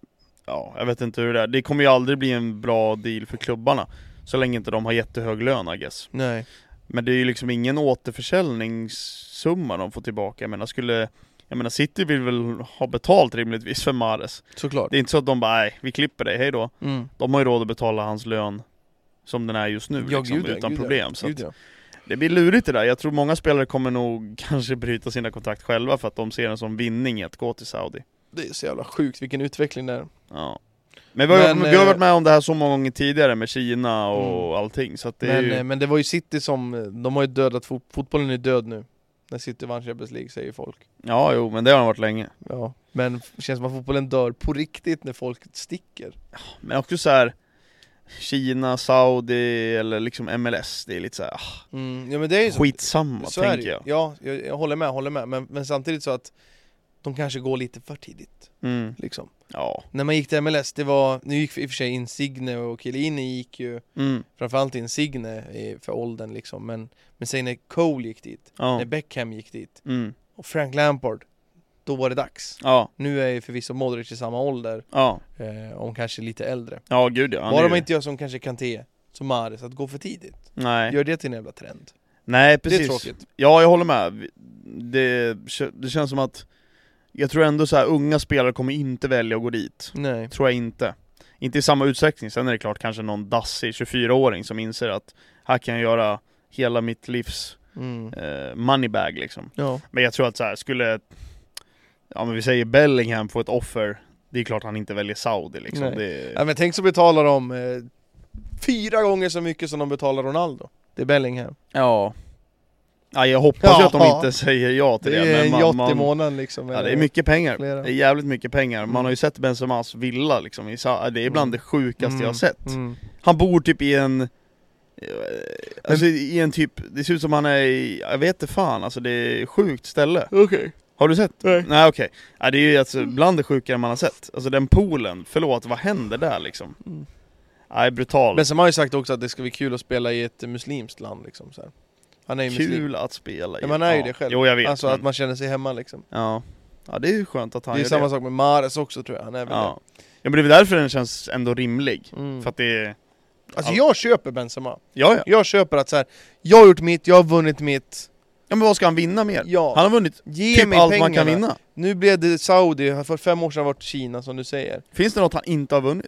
B: ja, jag vet inte hur det är. Det kommer ju aldrig bli en bra deal för klubbarna. Så länge inte de har jättehög lön, I guess.
A: Nej.
B: Men det är ju liksom ingen återförsäljningssumma de får tillbaka. Jag menar, skulle... Jag menar, City vill väl ha betalt rimligtvis för Mahrez.
A: Såklart.
B: Det är inte så att de bara, nej, vi klipper dig, hej då.
A: Mm.
B: De har ju råd att betala hans lön som den är just nu,
A: Ja,
B: liksom,
A: gud ja,
B: utan
A: gud ja,
B: problem. Så
A: gud
B: att
A: ja.
B: det blir lurigt det där. Jag tror många spelare kommer nog kanske bryta sina kontrakt själva för att de ser en som vinning i att gå till Saudi.
A: Det är så jävla sjukt vilken utveckling det är.
B: Ja. Men, vi har,
A: Men,
B: vi har
A: eh, Mm.
B: varit med om det här så många gånger tidigare med Kina och allting, så att det är
A: men,
B: ju...
A: eh, men det var ju City som, eh, de har ju dödat, fot- fotbollen är död nu. När City vann Champions League säger folk.
B: Ja, jo, men det har de varit länge.
A: Ja. Men f- känns som att fotbollen dör på riktigt när folk sticker.
B: Men också så här Kina, Saudi eller liksom MLS, det är lite så här, ah,
A: Mm. Ja men det är ju så.
B: skitsamma
A: så är det
B: tänker
A: ju.
B: jag.
A: Ja, jag, jag håller med, håller med. Men, men samtidigt så att de kanske går lite för tidigt.
B: Mm.
A: Liksom.
B: Ja.
A: När man gick till MLS, det var, nu gick i och för sig Insigne och Chiellini gick ju
B: Mm.
A: Framförallt Insigne eh, för åldern liksom men, men sen när Cole gick dit,
B: Ja.
A: när Beckham gick dit
B: Mm.
A: och Frank Lampard Då var det dags
B: ja.
A: Nu är ju förvisso Modric i samma ålder,
B: Ja.
A: eh, om kanske lite äldre
B: Ja, gud ja. Han är
A: Bara
B: ju-
A: man inte gör som kanske Kanté, som Mahrez, att gå för tidigt
B: Nej.
A: Gör det till en jävla trend
B: Nej, precis.
A: Det är tråkigt
B: Ja, jag håller med. Vi- Det, det känns som att jag tror ändå så här unga spelare kommer inte välja att gå dit.
A: Nej,
B: Tror jag inte. Inte i samma utsträckning. Sen är det klart kanske någon dassig 24-åring som inser att här kan jag göra hela mitt livs
A: mm.
B: eh, moneybag liksom.
A: ja,
B: Men jag tror att så här skulle, ja men vi säger Bellingham få ett offer, det är klart han inte väljer Saudi liksom.
A: Nej.
B: Det,
A: ja men tänk så betalar de eh, Fyra gånger så mycket som de betalar Ronaldo Det är Bellingham
B: ja. ja. Jag hoppas ju
A: Ja.
B: att de inte säger ja till
A: Det
B: det.
A: är en
B: man-
A: yacht i
B: man-
A: månaden liksom
B: Ja, det är
A: eller-
B: mycket pengar.
A: flera.
B: Det är jävligt mycket pengar. Man
A: Mm.
B: har ju sett Benzemas villa liksom. I Sa- det är bland
A: Mm.
B: det sjukaste jag har
A: Mm,
B: sett.
A: mm.
B: Han bor typ i en... eh, Alltså i en typ, det ser ut som han är i, jag vet inte fan alltså det är ett sjukt ställe.
A: Okej
B: Har du sett?
A: Nej.
B: Nej okej. Ja, det är ju alltså bland det sjukare man har sett. Alltså den poolen, förlåt vad händer där liksom?
A: Mm.
B: Nej brutal.
A: Men sen har han ju sagt också att det ska bli kul att spela i ett muslimskt land liksom så här. Han är ju muslim.
B: Kul att spela i.
A: Ja, man är ju det själv.
B: Jo jag vet.
A: Alltså
B: men-
A: att man känner sig hemma liksom.
B: ja. ja det är ju skönt att han
A: det är
B: gör
A: ju samma
B: det.
A: sak med Mares också tror jag, han är väl
B: Ja. ja men det är väl därför den känns ändå rimlig.
A: det. Mm.
B: För att det är...
A: Alltså jag köper Benzema.
B: Ja ja.
A: Jag köper att så här. jag har gjort mitt, jag har vunnit mitt.
B: Ja men vad ska han vinna mer?
A: Ja.
B: Han har vunnit
A: Ge
B: typ
A: mig
B: allt
A: pengarna.
B: man kan vinna.
A: Nu blev det Saudi, för fem år sedan var det Kina som du säger.
B: Finns det något han inte har vunnit?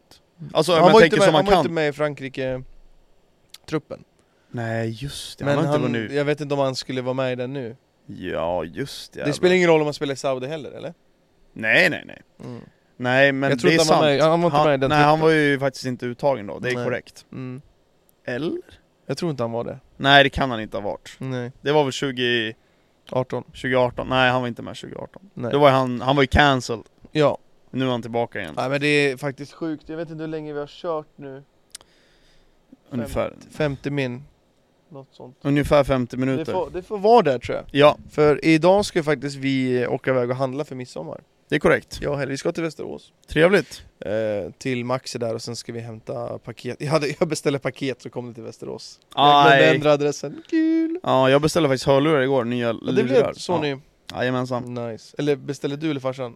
B: Alltså om
A: han
B: jag
A: var, inte
B: tänker
A: med,
B: som
A: han
B: man
A: var
B: kan.
A: inte med i Frankrike-truppen.
B: Nej just det,
A: Men
B: han har
A: han,
B: inte vunnit.
A: jag vet inte om han skulle vara med i den nu.
B: Ja just det.
A: Det spelar ingen roll om han spelar i Saudi heller eller? Mm.
B: Nej nej nej. Nej men
A: jag tror
B: det är
A: inte han
B: sant.
A: var med, han var inte med i den
B: nej, han
A: truppen.
B: var ju faktiskt inte uttagen då, det är
A: Nej.
B: korrekt.
A: Mm.
B: Eller?
A: Jag tror inte han var det.
B: Nej, det kan han inte ha varit.
A: Nej.
B: Det var väl 20,
A: 18.
B: 2018? Nej, han var inte med 2018.
A: Nej.
B: Då var ju han, han var ju cancelled.
A: Ja.
B: Nu är han tillbaka igen,
A: Nej men det är faktiskt sjukt. Jag vet inte hur länge vi har kört nu.
B: ungefär.
A: 50 min. Något sånt.
B: Ungefär 50
A: Det
B: minuter.
A: får, det får vara där tror jag.
B: Ja,
A: För idag ska faktiskt vi åka iväg och handla för midsommar.
B: det är korrekt.
A: Jag och Helle, vi ska till Västerås.
B: Trevligt.
A: Eh, till Maxi där och sen ska vi hämta paket. Jag, hade, jag beställde paket så kom det till Västerås. Jag glömde
B: Aj.
A: ändra adressen. Kul!
B: Ja, jag beställde faktiskt hörlurar igår, nya
A: Ja, det blev
B: lurar.
A: så nu.
B: Ja, jajamensan.
A: Nice. Eller beställde du eller farsan?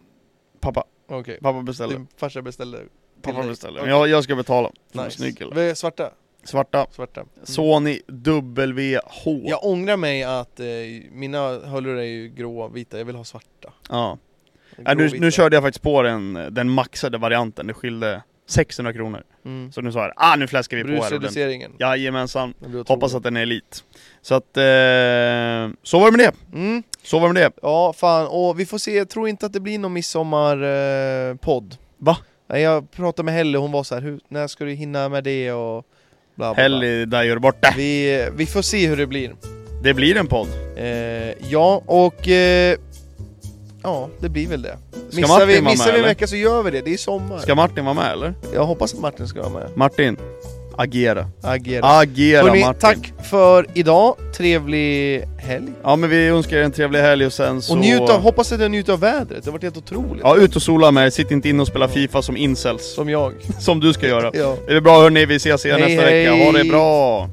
B: Pappa,
A: Okej.
B: pappa beställde.
A: Din Farsa beställde.
B: Pappa
A: dig.
B: beställde.
A: Okej.
B: Men jag, jag ska betala. Nice.
A: Nice.
B: Snygg kille.
A: Vi är Svarta.
B: Svarta.
A: Svarta. Mm.
B: Sony WH.
A: Jag ångrar mig att eh, mina hörlurar är ju grå vita, jag vill ha svarta.
B: Ja. Ja, Äh, nu,
A: Gråvita.
B: nu körde jag faktiskt på den, den maxade varianten, det skilde 600 kronor.
A: mm.
B: Så nu sa jag ah nu fläskar vi på här ordentligt.
A: Brusreduceringen.
B: Jajamensan,
A: Den blir
B: hoppas att
A: otrolig.
B: den är elit. Så att, eh, så var det med det,
A: Mm.
B: så var det med det.
A: Ja, fan. Och vi får se, jag tror inte att det blir någon midsommarpodd. Eh, podd.
B: Va?
A: Nej, jag pratade med Helle, hon var så här, Hur, när ska du hinna med det och bla bla, bla.
B: Helg där gör du borta.
A: Vi, vi får se hur det blir.
B: Det blir en podd.
A: Eh, ja, och... Eh, ja, det blir väl det.
B: Ska
A: Missar
B: Martin
A: vi,
B: vara
A: missar
B: med
A: vi en
B: eller?
A: vecka så gör vi det, det är sommar.
B: Ska Martin vara med eller?
A: Jag hoppas att Martin ska vara med.
B: Martin? Agera.
A: Agera.
B: Agera
A: Hörrni,
B: Martin.
A: tack för idag. Trevlig helg.
B: Ja men vi önskar er en trevlig helg och sen så...
A: Och njut av, hoppas att jag njuter av vädret. Det har varit helt otroligt.
B: Ja, ut och sola med er. Sitt inte in och spela Fifa som incels.
A: Som jag.
B: Som du ska göra.
A: Ja.
B: Är det bra hörni? Vi ses igen
A: Hej,
B: nästa vecka. Ha det
A: hej.
B: bra!